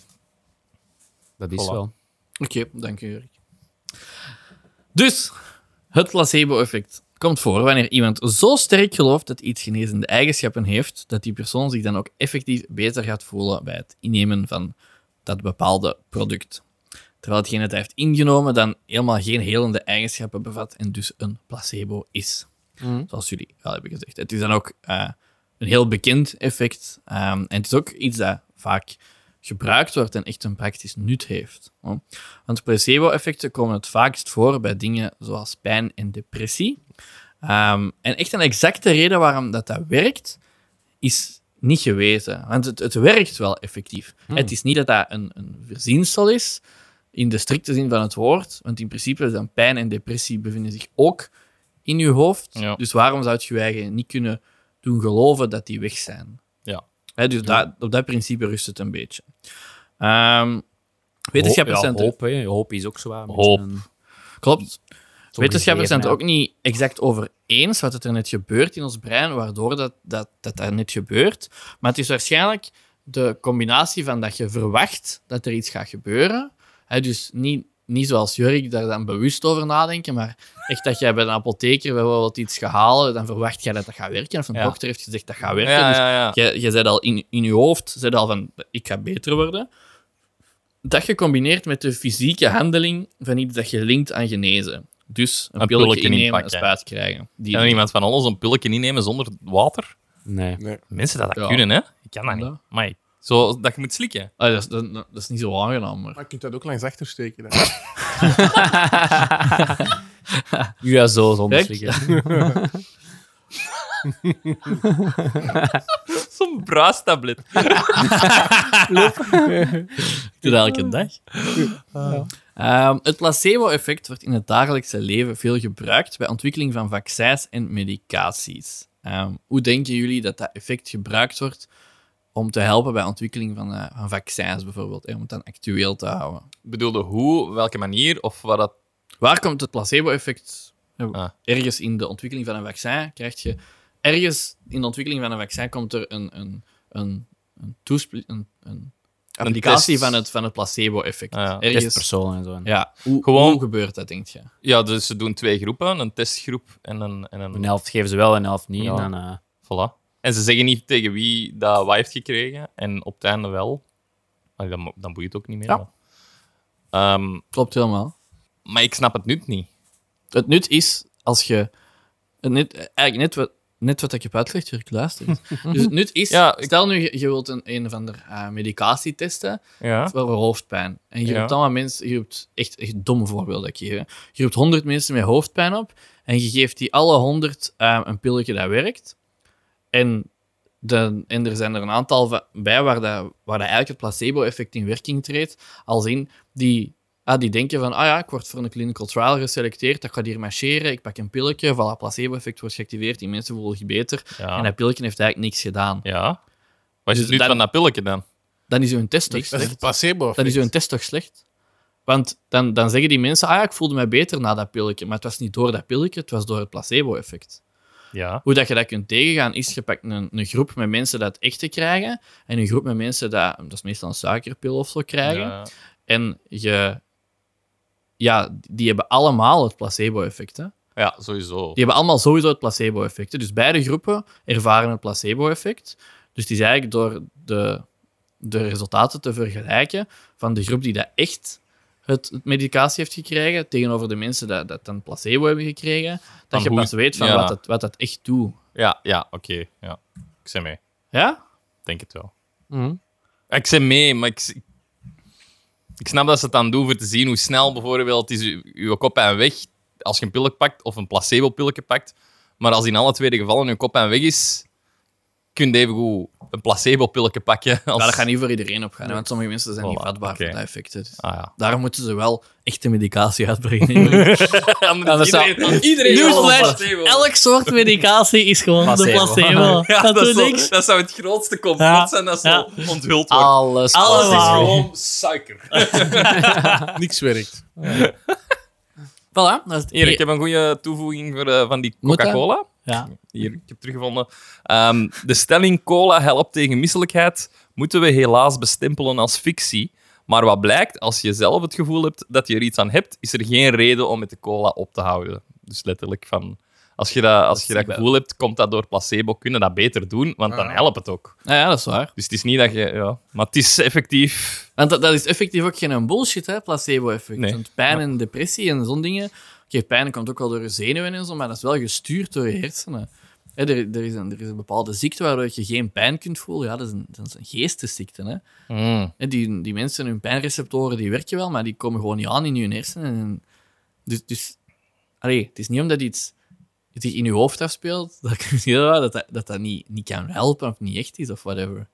D: dat is
A: Voilà.
D: wel.
C: Oké, dank u, Erik. Dus, het placebo-effect komt voor wanneer iemand zo sterk gelooft dat iets genezende eigenschappen heeft, dat die persoon zich dan ook effectief beter gaat voelen bij het innemen van dat bepaalde product. Terwijl hetgeen dat hij heeft ingenomen dan helemaal geen helende eigenschappen bevat en dus een placebo is. Zoals jullie wel hebben gezegd. Het is dan ook eh, een heel bekend effect. ehm, en het is ook iets dat vaak gebruikt wordt en echt een praktisch nut heeft. hoor. Want placebo-effecten komen het vaakst voor bij dingen zoals pijn en depressie. Ehm, en echt een exacte reden waarom dat, dat werkt, is niet geweten. Want het, het werkt wel effectief. Het is niet dat dat een, een verzinsel is, in de strikte zin van het woord. Want in principe dan pijn en depressie bevinden zich ook in je hoofd.
A: Ja.
C: Dus waarom zou je je eigen niet kunnen doen geloven dat die weg zijn?
A: Ja.
C: Hè, dus dat- op dat principe rust het een beetje. Ehm, wetenschappers
D: Ho- ja,
C: zijn er-
D: hoop, hè. hoop is ook zwaar. met
A: Hoop.
D: zo'n-
C: Klopt.
D: zo'n
C: Wetenschappers zijn het
D: gegeven,
C: ook niet exact over eens wat het er net gebeurt in ons brein, waardoor dat, dat, dat, dat net gebeurt. Maar het is waarschijnlijk de combinatie van dat je verwacht dat er iets gaat gebeuren. Hè, dus niet, niet zoals Jurk daar dan bewust over nadenken, maar echt dat jij bij een apotheker bijvoorbeeld iets gaat halen, dan verwacht jij dat dat gaat werken. Of een
D: Ja.
C: dokter heeft gezegd dat gaat
A: Ja,
C: werken. Dus
A: ja, ja.
C: je, je zei al in, in je hoofd, zei al van ik ga beter worden. Dat gecombineerd met de fysieke handeling van iets dat je linkt aan genezen. Dus een,
A: Een
C: pilletje,
A: pilletje
C: innemen,
A: inpakken.
C: een spuit krijgen. Die
A: Kan er iemand van ons een pilletje innemen zonder water?
D: Nee.
A: Mensen dat, dat
C: Ja.
A: kunnen, hè? Ik kan dat niet.
C: Ja.
A: Maar zo dat je moet slikken.
C: Ah, dat, is, dat, dat is niet zo aangenaam, maar...
B: Maar je kunt dat ook langs achter steken. dan.
D: Ja, zo zonder
C: Kijk.
D: slikken.
A: Zo'n bruistablet.
C: Ik doe dat elke dag. Ehm, het placebo-effect wordt in het dagelijkse leven veel gebruikt bij ontwikkeling van vaccins en medicaties. Ehm, hoe denken jullie dat dat effect gebruikt wordt om te helpen bij ontwikkeling van, eh, van vaccins bijvoorbeeld, hè, om het dan actueel te houden?
A: Bedoelde hoe, welke manier of wat dat.
C: Waar komt het placebo-effect? eh,
A: Ah.
C: Ergens in de ontwikkeling van een vaccin krijg je... Ergens in de ontwikkeling van een vaccin komt er een, een, een, een, toespli- een, een applicatie
A: Ah, test.
C: van het, van het placebo-effect.
A: Ah, ja.
C: Ergens...
D: Testpersoon en zo.
C: Ja, hoe,
A: Gewoon-
C: hoe gebeurt dat, denk je?
A: Ja, dus ze doen twee groepen: een testgroep en een. En een
D: Een helft geven ze wel, een helft niet.
A: Ja.
D: En dan, eh,
A: voilà. En ze zeggen niet tegen wie dat wat heeft gekregen en op het einde wel. Maar dan, mo- dan boeit het ook niet meer.
C: Ja.
A: maar. Ehm,
C: Klopt helemaal.
A: maar ik snap het nut niet.
C: Het nut is als je. Het nut, eigenlijk net wat, net wat ik heb uitgelegd, Jurk, luister. eens. dus het nut is.
A: Ja, ik-
C: Stel nu, je, je wilt een, een of ander eh, medicatie testen
A: Ja.
C: voor hoofdpijn. En je
A: Ja.
C: roept allemaal mensen. Je roept echt, echt een domme voorbeeld dat ik geef. hè. Je roept 100 mensen met hoofdpijn op. En je geeft die alle 100 eh, een pilletje dat werkt. En, de, en er zijn er een aantal va- bij waar, dat, waar dat eigenlijk het placebo-effect in werking treedt. Als in die, ah, die denken van, ah ja, ik word voor een clinical trial geselecteerd, dat gaat hier marcheren, ik pak een pilletje, voilà, placebo-effect wordt geactiveerd, die mensen voelen zich beter.
A: Ja.
C: En dat pilletje heeft eigenlijk niks gedaan.
A: ja. Wat is
C: Dus
A: het nut
C: dan-
A: van dat pilletje dan?
C: Dan is hun test toch
B: Dat is
C: slecht?
B: het placebo.
C: Dan is hun test toch slecht? Want dan, dan zeggen die mensen, ah ja, ik voelde mij beter na dat pilletje. Maar het was niet door dat pilletje, het was door het placebo-effect.
A: Ja.
C: Hoe dat je dat kunt tegengaan, is je pakt een, een groep met mensen dat het echte krijgen en een groep met mensen dat, dat is meestal een suikerpil of zo, krijgen.
A: Ja.
C: En je, ja, die hebben allemaal het placebo-effect. hè.
A: Ja, sowieso.
C: Die hebben allemaal sowieso het placebo-effect. hè. Dus beide groepen ervaren het placebo-effect. Dus het is eigenlijk door de, de resultaten te vergelijken van de groep die dat echt het, het medicatie heeft gekregen tegenover de mensen dat, dat dan placebo hebben gekregen, dat
A: Van
C: je
A: hoe-
C: pas weet van
A: ja.
C: wat, dat, wat dat echt doet.
A: Ja, ja, oké. ja. Ik zei mee.
C: Ja?
A: Ik denk het wel.
D: Mhm.
A: Ik zei mee, maar ik, s- ik snap dat ze het aan doen voor te zien hoe snel bijvoorbeeld is u- uw kop en weg als je een pilletje pakt of een placebo-pilletje pakt. Maar als in alle tweede gevallen uw kop en weg is, kun je even goed een placebo-pilletje pakken. Als...
C: Maar dat gaat niet voor iedereen opgaan, hè, want sommige mensen zijn niet
A: Voilà,
C: vatbaar
A: oké.
C: voor dat effect. hè. Dus
A: Ah ja.
C: Daarom moeten ze wel echte medicatie uitbrengen.
A: Anders zou-
C: iedereen
A: Newsflash,
C: elk soort medicatie is gewoon
D: de Placebo. placebo.
A: Ja, dat, zou, dat zou het grootste complot
C: Ja,
A: zijn dat
C: ja.
A: zo onthuld wordt.
C: Alles.
A: Alles is
C: allemaal.
A: gewoon suiker.
B: Niks werkt.
C: Voilà, dat is het
A: Hier, ik heb een goede toevoeging voor, eh, van die
C: Moet dat?
A: Coca-Cola.
C: Ja.
A: Hier, ik heb teruggevonden. Ehm, de stelling cola helpt tegen misselijkheid moeten we helaas bestempelen als fictie. Maar wat blijkt, als je zelf het gevoel hebt dat je er iets aan hebt, is er geen reden om met de cola op te houden. Dus letterlijk van... Als je dat, als je dat gevoel hebt, komt dat door placebo. Kunnen dat beter doen, want dan
B: Ah.
A: helpt het ook.
C: Nou ja, dat is waar.
A: Dus het is niet dat je... Ja. Maar het is effectief...
C: Want dat, dat is effectief ook geen bullshit, hè, placebo-effect.
A: Nee.
C: Want pijn en depressie en zo'n dingen... Oké, pijn komt ook wel door je zenuwen en zo, maar dat is wel gestuurd door je hersenen. Hè, er, er, is een, er is een bepaalde ziekte waardoor je geen pijn kunt voelen. Ja, dat is een, dat is een geestesziekte, hè. Hè, die, die mensen, hun pijnreceptoren, die werken wel, maar die komen gewoon niet aan in hun hersenen. En dus dus allee, het is niet omdat iets zich in je hoofd afspeelt, dat ik- dat dat, dat, dat niet, niet kan helpen of niet echt is of whatever.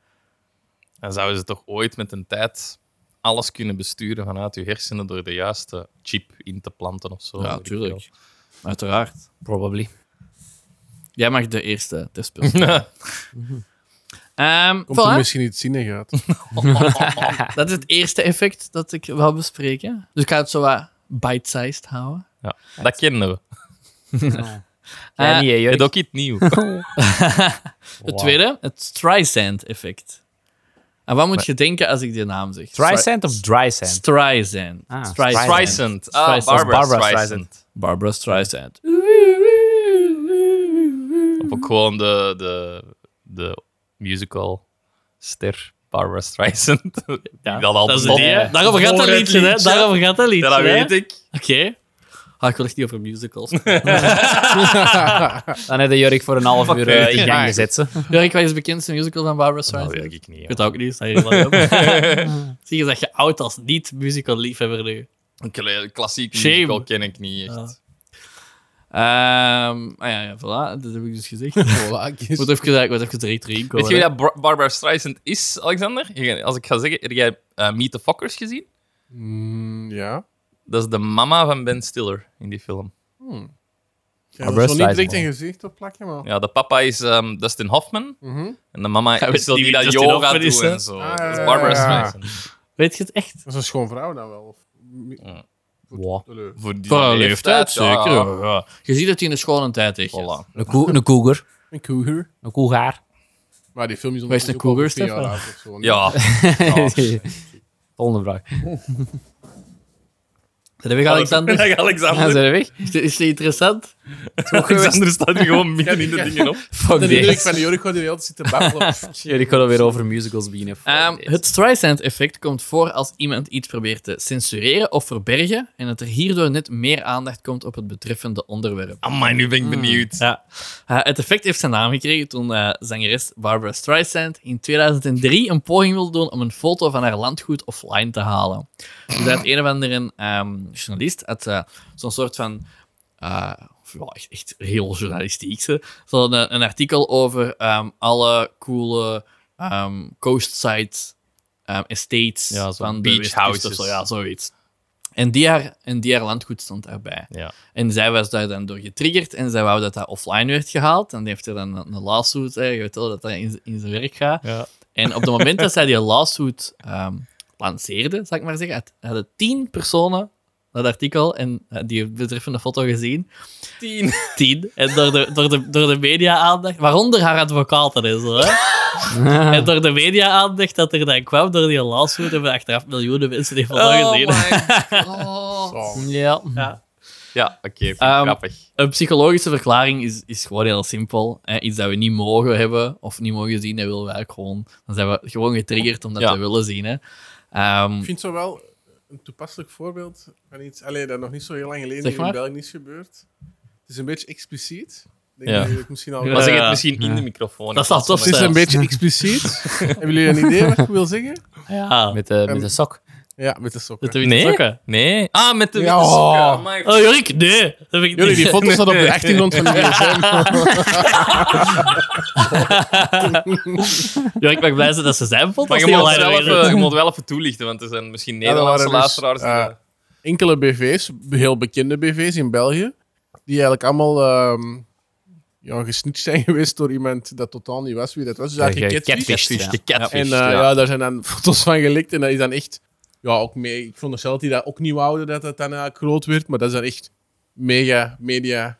A: Dan zouden ze toch ooit met een tijd alles kunnen besturen vanuit je hersenen door de juiste chip in te planten of zo.
C: Ja,
A: Weet ik
C: tuurlijk. Uiteraard.
D: Probably.
C: Jij mag de eerste test spelen. Ehm,
B: Komt er
C: voilà.
B: misschien iets zinnig uit.
C: Dat is het eerste effect dat ik wil bespreken. Dus ik ga het zo wat bite-sized houden.
A: veel. Ja, dat kennen we.
D: Ja,
C: Eh,
D: niet, hè,
A: Je
D: Jurk.
A: hebt ook iets nieuws.
C: Het tweede, het Streisand-effect. En wat moet je denken als ik die naam zeg?
D: Dry sand of dry sand?
C: Streisand.
D: Ah,
C: Streisand.
A: Streisand. Ah,
C: Streisand.
A: Barbara
D: Barbara
A: Streisand.
C: Barbara Streisand.
A: Of ook gewoon de, de, de musical ster Barbara Streisand. Ja, dat al
C: Dat is
A: bestond.
C: die, hè?
A: Ja,
C: Daarover gaat dat liedje, hè? Daarover gaat dat liedje.
A: dat
C: hè?
A: weet ik.
C: Oké. Ah, ik wil echt niet over musicals.
D: Dan heb je Jurk voor een half uur eh, in gang gezet. ze.
C: Jurk, wat is de bekendste musical van Barbara
A: Dat
C: Streisand?
A: weet ik niet.
C: Nou, Ik
A: ja.
C: weet dat ook niet, sta je wel op. Zie je dat je oud als niet-musical-liefhebber nu.
A: Een kle- klassiek
C: Shame.
A: musical ken ik niet echt.
C: Ehm, ah ja, ja, voilà, dat heb ik dus gezegd. Ik moet
B: Voilà,
C: even, ik moet even direct erin
A: Weet
C: komen.
A: je wie dat Bar- Barbara Streisand is, Alexander? Je- Als ik ga zeggen, heb jij eh, Meet the Fockers gezien?
B: Mm, ja.
A: Dat is de mama van Ben Stiller in die film.
B: Ja,
D: Maar
B: dat is wel niet
D: breastizing,
B: direct een
D: man.
B: gezicht op plakken, maar...
A: Ja, de papa is ehm, Dustin Hoffman.
B: Mhm.
A: En de mama
C: Ja,
A: is
C: weet
A: zo die
C: niet wie
A: dat
C: Dustin
A: yoga
C: Hoffman is,
A: doet en
C: hè?
A: zo.
B: Ah,
A: dat is
B: ja,
A: Barbara
B: ja, ja.
A: Streisand.
C: Weet je het echt?
B: Dat is een schoon vrouw dan wel. Of-
D: Wow.
B: Leuk.
A: Voor die
C: Voor haar leeftijd,
A: ja.
C: zeker. Ja. ja. Je ziet dat hij in een schone tijd heeft.
A: Voilà.
D: Een, koe, een koeger.
B: Een cougar.
D: Een koegaar.
B: Maar die film is
C: Wees een
B: ondertussen ook al
C: cougar,
B: vier jaar
C: Stefan.
B: oud of zo,
A: Ja,
B: nee.
D: Volgende vraag.
C: Zijn we weg, Alexander?
A: Dag,
D: Ja,
A: Alexander.
D: zijn we weg?
C: Is dit- Is dit interessant?
A: Alexander staat hier gewoon midden in de dingen op.
D: Fuck
B: De indruk
D: this.
B: van de Jorik gaat hier altijd zitten babbelen.
D: Jurk gaat weer over musicals beginnen. Fuck
C: Ehm,
D: this.
C: het Streisand-effect komt voor als iemand iets probeert te censureren of verbergen en dat er hierdoor net meer aandacht komt op het betreffende onderwerp.
A: Amai, nu
B: Hmm.
A: ben ik benieuwd.
C: Ja. Eh, het effect heeft zijn naam gekregen toen eh, zangeres Barbara Streisand in 2003 een poging wilde doen om een foto van haar landgoed offline te halen. Dus dat een of andere ehm, journalist had eh, zo'n soort van. eh, of ja, echt, echt heel journalistiek. ze. Zo'n eh, een artikel over ehm, alle coole ehm coastside ehm, estates
A: Ja, zo'n
C: van de
A: beach
C: Westkust of
A: houses.
C: zo, ja, zoiets. En die, haar, en die haar landgoed stond daarbij.
A: Ja.
C: En zij was daar dan door getriggerd en zij wou dat dat offline werd gehaald. En die heeft er dan een, een lawsuit, hè, je weet wel, dat dat in, z- in zijn werk gaat.
A: Ja.
C: En op het moment dat zij die lawsuit ehm, lanceerde, zal ik maar zeggen, had- hadden tien personen dat artikel en eh, die betreffende foto gezien.
A: Tien.
C: Tien. En door de, door de, door de media-aandacht, waaronder haar advocaat en zo, hè. En door de media-aandacht dat er dan kwam, door die Oh
A: Oh
C: lawsuit, hebben achteraf miljoenen mensen die foto gezien.
A: my
B: Zo.
D: Ja.
C: Ja.
A: Ja, oké. vind ik
C: Ehm,
A: grappig.
C: Een psychologische verklaring is, is gewoon heel simpel. hè. iets dat we niet mogen hebben of niet mogen zien, dat willen we eigenlijk gewoon. Dan zijn we gewoon getriggerd om dat
A: Ja.
C: te willen zien. Hè. Ehm,
B: Ik vind zo wel een toepasselijk voorbeeld van iets alleen dat nog niet zo heel lang geleden
C: Zeg
B: hier in
C: maar.
B: België is gebeurd. Het is een beetje expliciet.
A: Ja.
B: Ik Denk dat jullie het misschien al
C: Ja.
A: Maar
B: wel-
A: zeg het
C: eh,
A: misschien in
D: ja.
A: de microfoon.
C: Dat zal tof
B: Het is
A: zijn.
B: een beetje expliciet. Hebben jullie een idee wat ik wil zeggen?
C: ja.
D: Met, de met de sok.
B: Ja, met de
C: Ah, Met
B: sokken.
C: de witte
A: Nee?
C: sokken.
A: Nee. Ah, met de witte
B: Ja, oh.
A: sokken. Amai,
C: Oh, Jorik, nee. Dat heb ik
B: Jullie,
C: niet.
B: die foto staat op de achtergrond van de
C: Jorik mag blij zijn dat ze zijn foto's
A: Maar je
C: niet
A: moet,
C: online
A: wel
C: hebben.
A: even, je moet wel even toelichten, want er zijn misschien
B: Ja, dat
A: Nederlandse
B: waren dus,
A: luisteraars. die-
B: eh, enkele BV's, heel bekende BV's in België, die eigenlijk allemaal ehm ja, gesnitcht zijn geweest door iemand dat totaal niet was wie dat was. Dus eigenlijk
D: Ge-
B: catfish.
D: catfished,
A: Catfish,
D: ja.
B: En
A: gecatfished,
B: eh,
A: ja.
B: ja. daar zijn dan foto's van gelikt en dat is dan echt... Ja, ook mee. Ik vond er zelf die dat ook niet wouden dat dat dan eigenlijk groot werd, maar dat is dan echt mega, media...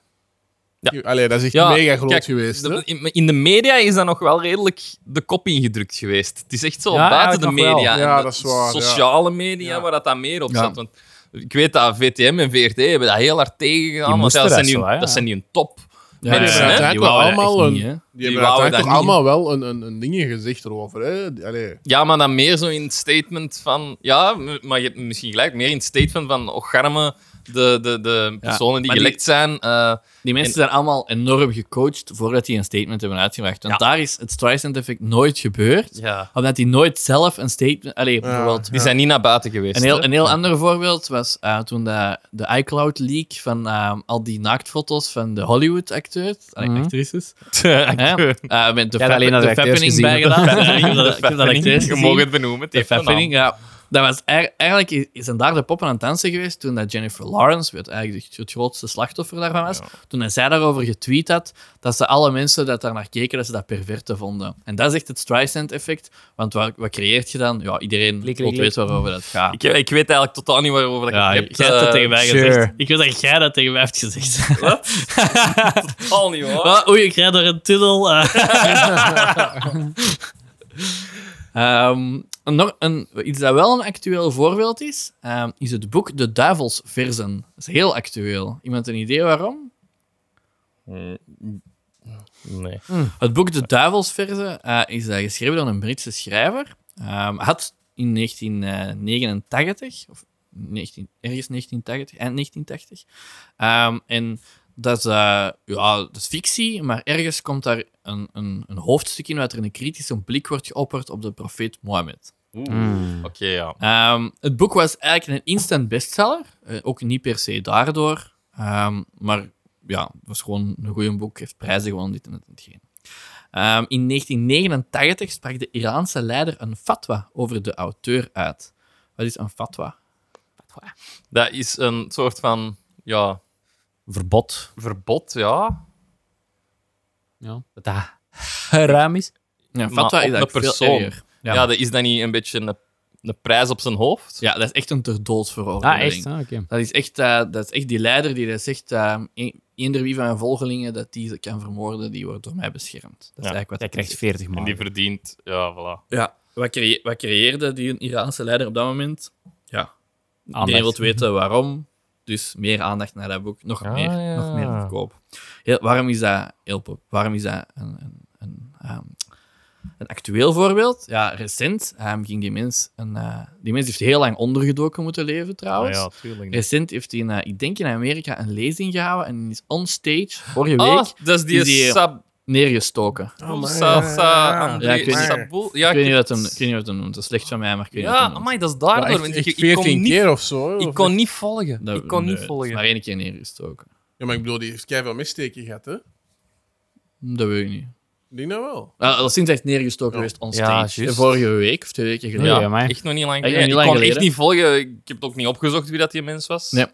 A: Ja.
B: Allee, dat is echt
A: Ja,
B: mega groot
A: kijk,
B: geweest. hè.
A: De- in, in de media is dat nog wel redelijk de kop ingedrukt geweest. Het is echt zo
D: Ja,
A: buiten
D: eigenlijk
A: de
D: nog wel.
A: media. en
B: Ja,
A: de
B: dat is waar, ja.
A: Sociale media,
B: Ja.
A: waar dat dan meer op
B: Ja.
A: zat. Want ik weet dat VTM en VRT hebben dat heel hard tegengegaan.
D: Die
A: Want
D: moesten
A: ja, dat, zijn
D: dat
A: nu,
D: zo, hè,
A: dat
D: ja.
A: zijn nu een top.
C: Ja,
A: mensen,
B: Die
A: hè.
B: hebben uiteindelijk
D: Die
B: wel
D: wouden dat
B: allemaal een-
D: echt niet, hè.
B: die hebben
A: wouden
B: uiteindelijk
A: dat
B: toch
A: niet. Ah,
B: allemaal wel een, een, een dingetje gezegd erover. Hè? Die- Allee.
A: Ja, maar dan meer zo in het statement van... Ja, m- maar je hebt misschien gelijk. Meer in het statement van... Och, garme, de, de, de personen die
C: maar die-
A: gelekt zijn... eh,
C: Die mensen zijn allemaal enorm gecoacht voordat die een statement hebben uitgebracht. Want daar is het Streisand-effect nooit gebeurd.
A: ja.
C: Omdat die nooit zelf een statement... Allee, bijvoorbeeld...
A: Die zijn niet naar buiten geweest.
C: Een heel,
A: hè.
C: een heel ander voorbeeld was eh, toen de, de iCloud leak van eh, al die naaktfoto's van de Hollywood-acteurs, allee,
D: Mhm.
C: actrices. Hè? Eh, met de,
D: Ja,
C: fap-
D: alleen naar de
C: de
D: acteurs
C: fappening
D: gezien.
C: bijgedaan. Ja, ik heb dat-
A: De
C: ik heb dat
A: Fappening,
C: acteurs
A: Je
C: gezien.
A: mag het benoemen. Het
C: De
A: heeft een
C: fappening, ja. Dat was eigenlijk, eigenlijk is- zijn daar de poppen aan het dansen geweest toen dat Jennifer Lawrence, werd eigenlijk het- het grootste slachtoffer daarvan was, toen zij daarover getweet had dat ze alle mensen dat daar naar keken, dat ze dat perverte vonden. En dat is echt het Streisand-effect, want wat, wat creëert je dan? Ja, iedereen
D: Klik, klik,
C: wil
D: klik.
C: weet waarover dat gaat.
A: Ik, ik weet eigenlijk totaal niet waarover dat je
C: Ja,
A: het
C: jij
A: hebt.
C: hebt dat
A: eh,
C: tegen mij
D: sure.
C: gezegd. Ik wil dat jij dat tegen mij hebt gezegd.
A: totaal niet hoor.
C: Oh, oei, ik rijd door een tunnel. Ehm, en nog een, iets dat wel een actueel voorbeeld is, ehm, is het boek De Duivels Verzen. Dat is heel actueel. Iemand een idee waarom?
A: Nee.
C: Het boek De Duivels Verzen eh, is eh, geschreven door een Britse schrijver. Ehm, had in 1989, of 19, ergens 1980, eind 1980. Ehm, en dat is, eh, ja, dat is fictie, maar ergens komt daar een, een, een hoofdstuk in waarin een kritische blik wordt geopperd op de profeet Mohammed.
A: Oké,
D: Mm.
A: ja.
C: Ehm, het boek was eigenlijk een instant bestseller, eh, ook niet per se daardoor, Ehm, maar ja, het was gewoon een goed boek, heeft prijzen gewonnen, dit en dat en hetgeen. Ehm, in 1989 sprak de Iraanse leider een fatwa over de auteur uit. Wat is een fatwa?
A: Dat is een soort van ja,
D: Verbod.
A: verbod, ja.
D: Ja. Dat dat haram is.
C: Ja, een
A: Maar
C: fatwa
A: op
C: is
A: een
C: eigenlijk veel
A: persoon.
C: erger.
A: Ja,
D: Ja.
A: dat is dan niet een beetje een, een prijs op zijn hoofd?
C: Ja, dat is echt een ter dood
D: Ah,
C: veroordeling.
D: echt? Ah, oké.
C: Dat is echt, eh, dat is echt die leider die dat zegt, eh, een- eender wie van mijn volgelingen dat die ze kan vermoorden, die wordt door mij beschermd. Dat is
A: Ja,
C: eigenlijk wat
D: Jij
C: dat
D: krijgt
C: is.
D: 40
A: En die
D: man.
A: verdient, ja, voilà.
C: Ja, wat, creë- wat creëerde die Iraanse leider op dat moment? Ja,
D: Ah,
C: iedereen wil weten waarom. Dus meer aandacht naar dat boek. Nog
A: Ah,
C: meer,
A: ja.
C: nog meer verkoop. Heel, waarom is dat heel pop? Waarom is dat een, een, een, ehm, een actueel voorbeeld? Ja, recent ehm, ging die mens... Een, eh, die mens heeft heel lang ondergedoken moeten leven, trouwens.
A: Ah, tuurlijk.
C: Recent heeft hij, in, eh, ik denk in Amerika, een lezing gehouden en is on stage vorige week
A: Ah, dat is die,
C: is die-
A: Sab...
C: neergestoken.
B: Oh, maar-
A: Sa- Sa- André-
C: Ja, ik weet niet.
A: Sabou- Ja,
C: ik, weet niet
A: heb-
C: wat hem, ik weet niet wat hem noemt, dat is slecht van mij, maar ik weet niet wat
A: Ja,
C: hem noemt.
A: amai, dat is
B: Maar
A: daardoor.
B: echt,
A: want
B: echt
A: ik, ik,
B: 14
A: kon niet,
B: keer of zo.
A: ik
B: of-
A: kon niet volgen.
C: Dat-
A: ik kon
C: nee,
A: niet
C: het is
A: volgen.
C: Maar één keer neergestoken.
B: Ja, maar ik bedoel, die heeft keihard veel missteken gehad, hè?
C: Dat weet ik niet.
B: Die nou wel.
C: Nou, dat is sinds echt neergestoken geweest on
A: Ja,
C: stage.
A: juist.
C: vorige week of twee weken geleden.
A: Ja,
D: Ja, maar-
A: echt nog niet lang
C: nog
A: geleden.
C: niet
A: Ik
C: lang
A: kon echt
C: geleden.
A: niet volgen. Ik heb het ook niet opgezocht wie dat die mens was.
C: Nee.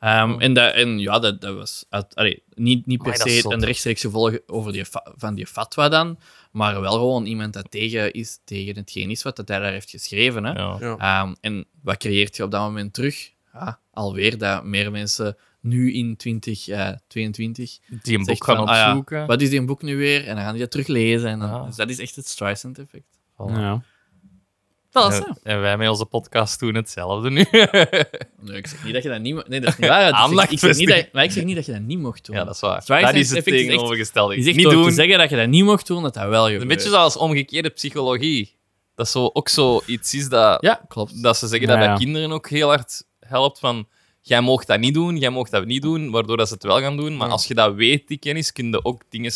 C: Ehm, en, dat, en ja, dat, dat was uit- allee, niet, niet per
A: Amai, dat is
C: se
A: zot.
C: een rechtstreeks gevolg over die fa- van die fatwa dan, maar wel gewoon iemand dat tegen, is, tegen hetgeen is wat dat hij daar heeft geschreven. Hè.
A: Ja.
B: Ja.
C: Ehm, en wat creëert je op dat moment terug? Ja, alweer dat meer mensen nu in 2022
A: Die een boek
C: zegt
A: gaan
C: van, ah ja,
A: opzoeken.
C: wat is die boek nu weer? En dan gaan die dat teruglezen. En dan-
A: Ah.
C: Dus dat is echt het Streisand-effect.
D: Ja.
C: Dat is
A: En-
C: zo.
A: En wij met onze podcast doen hetzelfde nu.
C: Nee, ik zeg niet dat je dat niet mo- Nee, dat is niet waar. Ik zeg- ik zeg niet dat, maar ik zeg niet dat je dat niet mocht doen.
A: ja, dat is waar.
C: is waar,
A: dat
C: zijn
A: is het
C: effectief echt-
A: tegenovergestelde.
C: Je zegt
A: Niet
C: door te
A: doen.
C: zeggen dat je dat niet mocht doen, dat dat wel gebeurt.
A: Een beetje zoals omgekeerde psychologie. Dat is zo, ook zoiets is dat,
C: Ja, klopt.
A: dat ze zeggen dat
D: Ja,
A: bij
D: ja.
A: kinderen ook heel hard helpt van... Jij mag dat niet doen, jij mag dat niet doen, waardoor dat ze het wel gaan doen. Maar als je dat weet, die kennis, kun je ook dingen...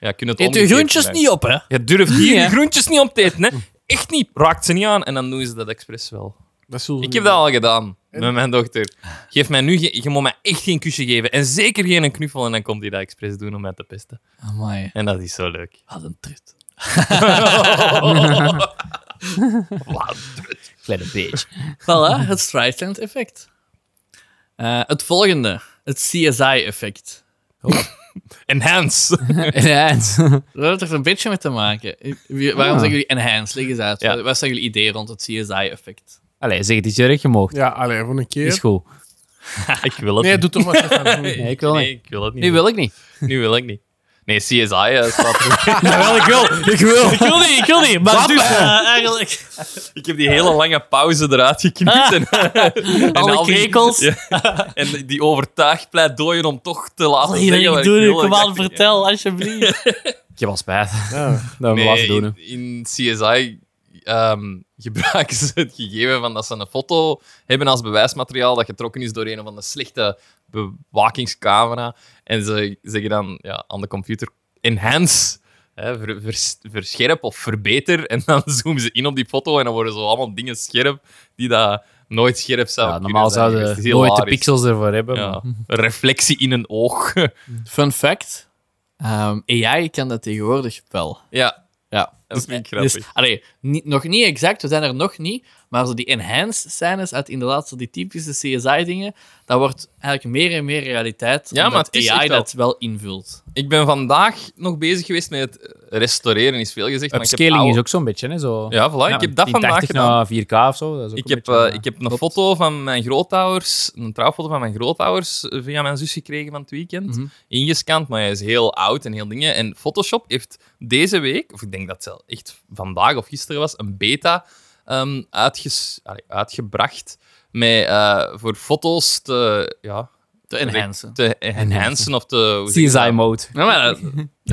A: Ja, kun je het
C: Eet je
A: omgekeerd
C: groentjes
A: gebruiken.
C: niet op, hè?
A: Je durft hier
C: Ja.
A: je groentjes niet op te eten, hè. Echt niet. Raakt ze niet aan. En dan doen ze dat expres wel.
B: Dat zullen ze
A: Ik
B: niet
A: heb dat al gedaan met mijn dochter. Geef mij nu... ge- Je moet mij echt geen kusje geven. En zeker geen een knuffel. En dan komt hij dat expres doen om mij te pesten.
C: Amai,
A: En dat is zo leuk.
C: wat een trut.
D: Kleine beetje.
C: Voilà, het Streisand effect. Eh, het volgende, het CSI effect.
A: Enhance.
D: Enhance.
C: Daar heeft er een beetje mee te maken. Wie- Waarom
D: Ah.
C: zeggen jullie enhance? Leg eens uit.
A: Ja.
C: Wat zijn jullie ideeën rond het CSI effect?
D: Allee, zeg het is je recht
B: doen.
D: gemoogd.
B: Ja, alleen voor een
D: Is
B: keer.
D: goed.
A: ik wil het
B: Nee,
A: niet.
B: doe toch maar. Stefan. Doe.
D: Nee, ik wil
A: Nee,
D: niet.
A: ik wil het niet.
D: Nu wil ik niet.
A: Nu wil ik niet. Nee, CSI eh, staat er.
D: Jawel, ik wil. Ik wil. Ik wil niet, ik wil niet. Maar dus...
C: Eh, eigenlijk.
A: ik heb die hele lange pauze eruit geknipt. Ah. en, en
C: Alle
A: al die-
C: krekels.
A: Ja, en die overtuigd pleidooien om toch te laten
C: Allee,
A: zeggen
C: dat
A: wat
C: ik doe,
A: wil.
C: kom
A: dacht,
C: aan, vertel, alsjeblieft.
D: Ik heb al spijt.
B: Ja.
D: Dat we
A: Nee,
D: laten doen. hè.
A: in, in CSI ehm, gebruiken ze het gegeven van dat ze een foto hebben als bewijsmateriaal dat getrokken is door een van de slechte bewakingscamera. En ze zeggen dan ja, aan de computer enhance. Hè, ver- vers- verscherp of verbeter. En dan zoomen ze in op die foto en dan worden zo allemaal dingen scherp die dat nooit scherp zouden
D: Ja, normaal
A: kunnen zijn. Dus
D: zouden
A: het is
D: we nooit de
A: hilarisch.
D: pixels ervoor hebben.
A: Ja,
D: maar-
A: een reflectie in een oog.
C: Fun fact: ehm, AI kan dat tegenwoordig wel.
A: ja,
C: Ja,
A: dat vind ik
C: Dus,
A: grappig.
C: allee, niet- nog niet exact, we zijn er nog niet. Maar zo die enhanced scènes uit inderdaad zo die typische CSI-dingen, dat wordt eigenlijk meer en meer realiteit.
A: Ja, maar
C: omdat
A: het is
C: AI
A: echt wel-
C: dat wel invult.
A: Ik ben vandaag nog bezig geweest met het restaureren, is veel gezegd. Maar ik heb
D: Upscaling is
A: oude-
D: ook zo'n beetje, hè? Zo.
A: Ja, voilà, ik heb dat
D: in
A: vandaag
D: 80
A: gedaan.
D: naar 4K of zo. Dat is ook
A: Ik
D: een
A: heb,
D: beetje,
A: eh, ik heb een foto van mijn grootouders, een trouwfoto van mijn grootouders, eh, via mijn zus gekregen van het weekend.
C: Mhm.
A: Ingescand, maar hij is heel oud en heel dingen. En Photoshop heeft deze week, of ik denk dat het zelf echt vandaag of gisteren was, een beta ehm, uitges- allee, uitgebracht met, eh, voor foto's te, ja,
C: Te enhancen.
A: te enhancen of te... hoe zeg je dat?
D: CSI mode.
C: Ja, maar,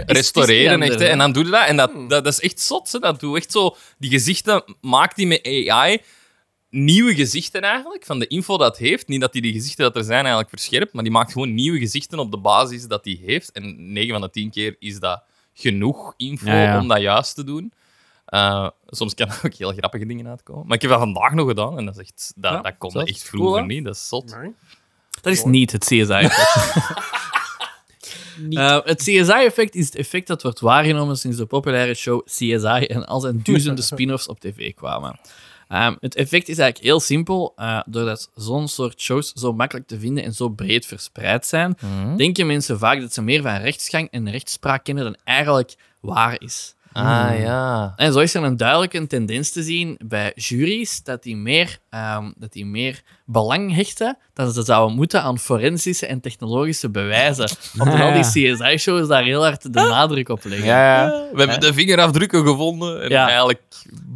A: restaureren.
C: is Hmm.
A: Echt, hè.
C: anders,
A: En dan doe je dat. En dat, dat, dat is echt zot. Hè. Dat doe echt zo. Die gezichten maakt die met AI. Nieuwe gezichten eigenlijk, van de info dat het heeft. Niet dat hij die gezichten dat er zijn eigenlijk verscherpt, maar die maakt gewoon nieuwe gezichten op de basis dat hij heeft. En 9 van de 10 keer is dat genoeg info
D: Ja, ja.
A: om dat juist te doen. Eh, soms kan er ook heel grappige dingen uitkomen. Maar ik heb dat vandaag nog gedaan en dat, is echt, dat,
C: Ja,
A: dat kon
C: zot.
A: echt
C: Cool,
A: vroeger
C: hè?
A: niet. Dat is zot.
B: Nee.
C: dat is niet het CSI-effect. Eh, het CSI-effect is het effect dat wordt waargenomen sinds de populaire show CSI en al zijn duizenden spin-offs op tv kwamen. Ehm, het effect is eigenlijk heel simpel. eh, doordat zo'n soort shows zo makkelijk te vinden en zo breed verspreid zijn, denken mensen vaak dat ze meer van rechtsgang en rechtspraak kennen dan eigenlijk waar is.
A: Ah ja.
C: En zo is er een duidelijke tendens te zien bij juries dat die meer, ehm, dat die meer belang hechten dan ze zouden moeten aan forensische en technologische bewijzen. Omdat al die CSI-shows daar heel hard de nadruk op leggen.
D: Ja, ja.
A: We hebben de vingerafdrukken gevonden en
C: Ja.
A: eigenlijk.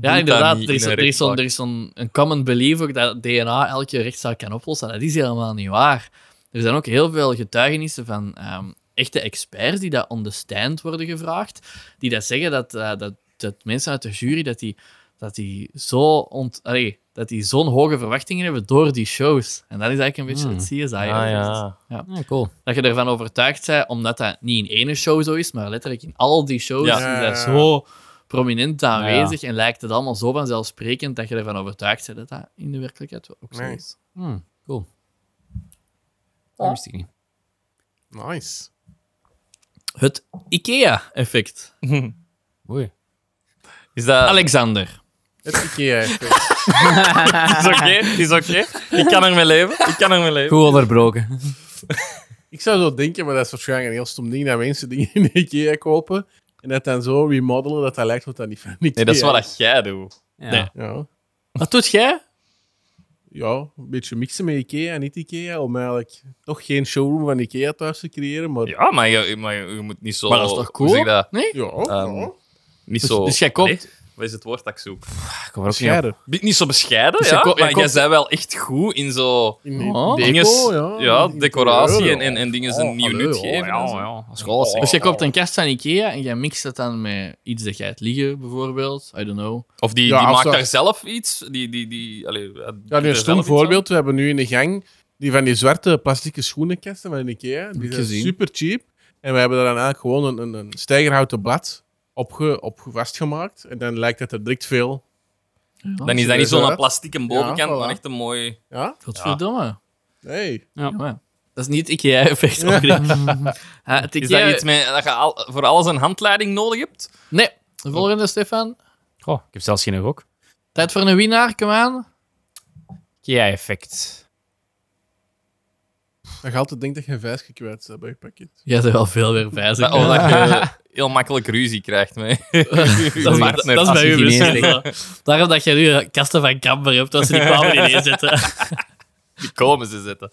C: Ja, inderdaad. Er is,
A: zo'n
C: er is zo'n er is zo'n- een common belief ook dat DNA elke rechtszaak kan oplossen. Dat is helemaal niet waar. Er zijn ook heel veel getuigenissen van ehm, echte experts die dat on the stand worden gevraagd, die dat zeggen dat, eh, dat, dat mensen uit de jury dat die, dat die zo ont, allee, dat die zo'n hoge verwachtingen hebben door die shows. En dat is eigenlijk een beetje
D: Hmm.
C: het CSI.
A: Ah,
C: effect.
A: ja.
D: Ja, cool.
C: Dat je ervan overtuigd bent, omdat dat niet in ene show zo is, maar letterlijk in al die shows
A: Ja.
C: is dat
B: Ja.
C: zo prominent aanwezig en lijkt het allemaal zo vanzelfsprekend dat je ervan overtuigd bent dat dat in de werkelijkheid wel ook zo
B: Nee.
C: is.
D: Hmm, cool. Dat wist ik niet.
B: Nice.
C: Het IKEA-effect.
D: Oei.
A: Is dat.
C: Alexander.
B: Het IKEA-effect.
A: is oké, is oké. Ik kan ermee leven. Ik kan ermee leven.
D: Goed onderbroken.
B: ik zou zo denken, maar dat is waarschijnlijk een heel stom ding, dat mensen dingen in de IKEA kopen en dat dan zo remodelen dat dat lijkt wat dat niet van IKEA
A: Nee, dat is wat dat jij doet.
D: Ja.
C: Nee.
B: Ja.
C: Wat doet jij?
B: ja, een beetje mixen met IKEA en niet IKEA, om eigenlijk toch geen showroom van IKEA thuis te creëren, maar...
A: Ja, maar je, maar je, je moet niet zo.
C: Maar dat is toch
A: hoe zeg
C: cool?
A: je dat?
C: Nee?
B: Ja,
A: Ehm,
B: ja.
A: Niet
C: Dus,
A: zo.
C: dus jij koopt,
A: Nee. Wat is het woord dat ik zoek?
D: Ik kom er ook niet op.
B: Scheiden.
A: Niet- Niet zo bescheiden,
D: Dus
A: ja,
D: jij ko- jij
A: maar jij
D: komt-
A: bent wel echt goed in zo...
D: Oh,
B: Deco,
A: dinges,
B: ja,
A: ja,
B: in-
A: decoratie en,
B: interieur,
A: en, en dingen
B: oh,
A: een nieuw
B: allee,
A: nut
B: oh,
A: geven. en
D: Ja,
A: zo.
D: ja. Dat is goed, zeg.
C: Dus
A: Oh.
C: je koopt een kast van Ikea en jij mixt het dan met iets dat jij het liggen, bijvoorbeeld. I don't know.
A: Of die,
B: Ja,
A: die
B: of
A: maakt
B: zo-
A: daar zelf iets. Die, die, die, allee,
B: Ja, nu
A: er
B: een
A: zelf
B: stom
A: iets
B: voorbeeld. We hebben nu in de gang die van die zwarte plastieke schoenenkasten van Ikea. Die zijn
C: gezien.
B: super cheap. En we hebben daar dan eigenlijk gewoon een, een, een stijgerhouten blad op, ge, op vastgemaakt. En dan lijkt het er direct veel.
A: aan. Dan is dat niet zo'n
B: Inderdaad.
A: plastieke bovenkant,
B: Ja, voilà.
A: maar echt een mooi...
B: Ja?
C: Godverdomme.
B: Nee.
D: Ja.
C: Jongen, Dat is niet het Ikea-effect. hoor. Ah, het
A: Is
C: Ikea-
A: dat iets met, dat je al- voor alles een handleiding nodig hebt?
C: Nee, de volgende, Stefan.
D: Goh, ik heb zelfs geen rok.
C: Tijd voor een winnaar, kom aan.
D: Kia-effect.
B: Dan je altijd denken dat je vijs gekwijt bent bij je pakket.
C: Jij bent wel veel weer bij. zeg.
A: Dat, of dat je heel makkelijk ruzie krijgt met je
C: Dat is, dat,
A: partner.
C: dat is
D: als
C: bij u
D: je Chinees
C: bestemd. Daarom dat jij nu kasten van Kamper hebt, als ze die kwamen ineens zetten.
A: Die komen ze zitten.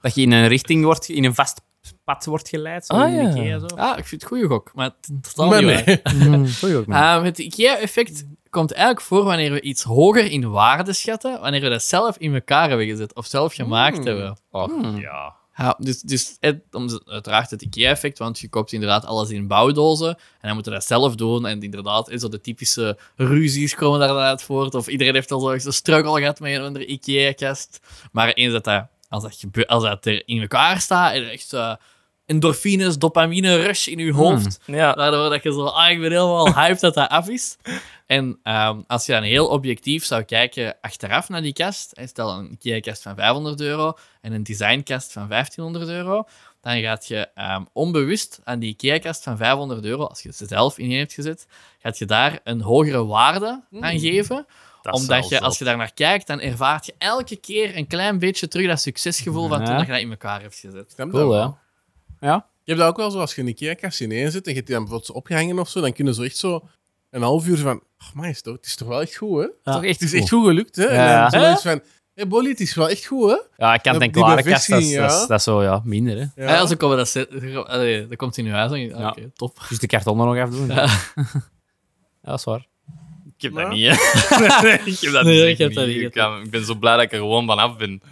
D: Dat je in een richting wordt, in een vast pad wordt geleid. Zo
A: Ah,
D: in
A: ja.
D: Ikea, zo.
C: Ah, ik vind het goede gok, maar het is totaal
B: Maar
C: niet
B: nee.
C: waar.
D: Goeie ook, man.
C: Ehm, het IKEA-effect komt eigenlijk voor wanneer we iets hoger in waarde schatten, wanneer we dat zelf in elkaar hebben gezet of zelf gemaakt
B: Hmm.
C: hebben.
D: Hmm.
A: Ja.
C: Ja, dus dus het, om, ze- uiteraard het IKEA-effect, want je koopt inderdaad alles in bouwdozen en dan moeten we dat zelf doen. En inderdaad, en zo de typische ruzies komen daaruit voort. Of iedereen heeft al zo eens een struggle gehad met een of andere IKEA-kast. Maar eens dat dat, als dat, gebe- als dat er in elkaar staat en echt eh, endorfines, dopamine, rush in je hoofd.
A: ja.
C: Waardoor dat je zo, ah, ik ben helemaal hyped dat dat af is. En ehm, als je dan heel objectief zou kijken achteraf naar die kast, en stel een IKEA-kast van 500 euro en een designkast van 1500 euro, dan gaat je ehm, onbewust aan die IKEA-kast van 500 euro, als je ze zelf in hebt gezet, gaat je daar een hogere waarde aan geven.
A: Hmm. Dat is
C: omdat
A: wel
C: je,
A: zo.
C: als je daar naar kijkt, dan ervaart je elke keer een klein beetje terug dat succesgevoel van
D: Ja.
C: toen dat je dat in elkaar hebt gezet.
B: Stemt dat
D: Cool,
B: wel?
D: hè? Ja?
B: Je hebt dat ook wel zo, als je een Ikea-kast ineenzet en je hebt die dan bijvoorbeeld zo opgehangen of zo, dan kunnen ze echt zo een half uur van... Oh man, is het, ook- het is toch wel echt goed, hè?
D: Toch echt
B: Het is echt goed gelukt, hè? En
D: Ja.
B: dan zoiets van... hey, Bolly, het is wel echt goed, hè?
D: Ja, kant- en
B: Die
D: klare kast, dat is,
B: bevestiging,
D: dat, is,
B: ja.
D: dat is zo, ja, minder, hè.
C: Ja. als ik op dat set, allee, dat komt in je huis. en je- ah,
D: Ja.
C: Oké, top.
D: Dus de karton er nog afdoen. Ja. dat is waar.
A: Ik heb
B: Ja.
A: dat niet, hè. ik heb dat
C: Nee,
A: niet.
C: ik heb dat niet.
A: Ik, kan- ik ben zo blij dat ik er gewoon vanaf ben.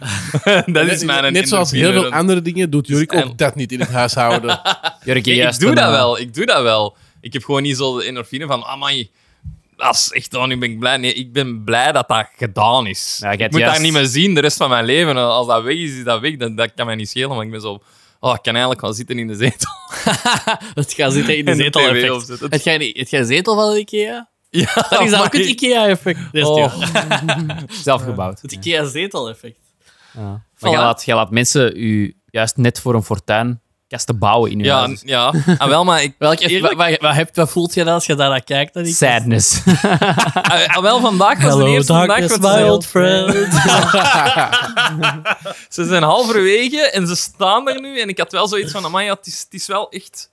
A: dat is
B: Net-
A: mijn
B: Net zoals heel veel
A: endorfine-
B: andere dingen doet Jurk
A: en-
B: ook dat niet in het huishouden.
D: Jurk,
A: Nee, ik
D: juist
A: doe
D: een,
A: dat
D: eh,
A: wel. Ik doe dat wel. Ik heb gewoon niet zo de endorfine van, amai, dat is echt, oh, nu ben ik blij. Nee, ik ben blij dat dat gedaan is.
D: Ja, ik
A: ik
D: heb
A: moet
D: juist-
A: dat niet meer zien de rest van mijn leven. Als dat weg is, is dat weg. Dat, dat kan mij niet schelen, want ik ben zo... Oh, ik kan eigenlijk wel zitten in de zetel.
C: Het gaat zitten in de
A: En de
C: zetel
A: TV
C: effect.
A: opzetten.
C: Het gaat niet- het gaat zetel van de Ikea.
A: Ja,
C: Dat is dan
A: amai.
C: ook het Ikea effect.
A: Oh.
D: Zelf gebouwd.
C: Het Ikea zetel effect.
D: Ja.
C: Voilà.
D: Maar jij laat, jij laat mensen u juist net voor een fortuin kasten bouwen in uw
A: Ja,
D: huis.
A: ja. Ah, wel, maar ik...
C: Welk,
A: Eerlijk?
C: wat, wat, heb, wat voelt je dan als je daar naar kijkt? Dan
D: Sadness.
A: Ah, wel, vandaag was de eerste dag... dat ze-
C: friend.
A: Ze zijn halverwege en ze staan er nu. En ik had wel zoiets van, amai, ja, het is, het is wel echt...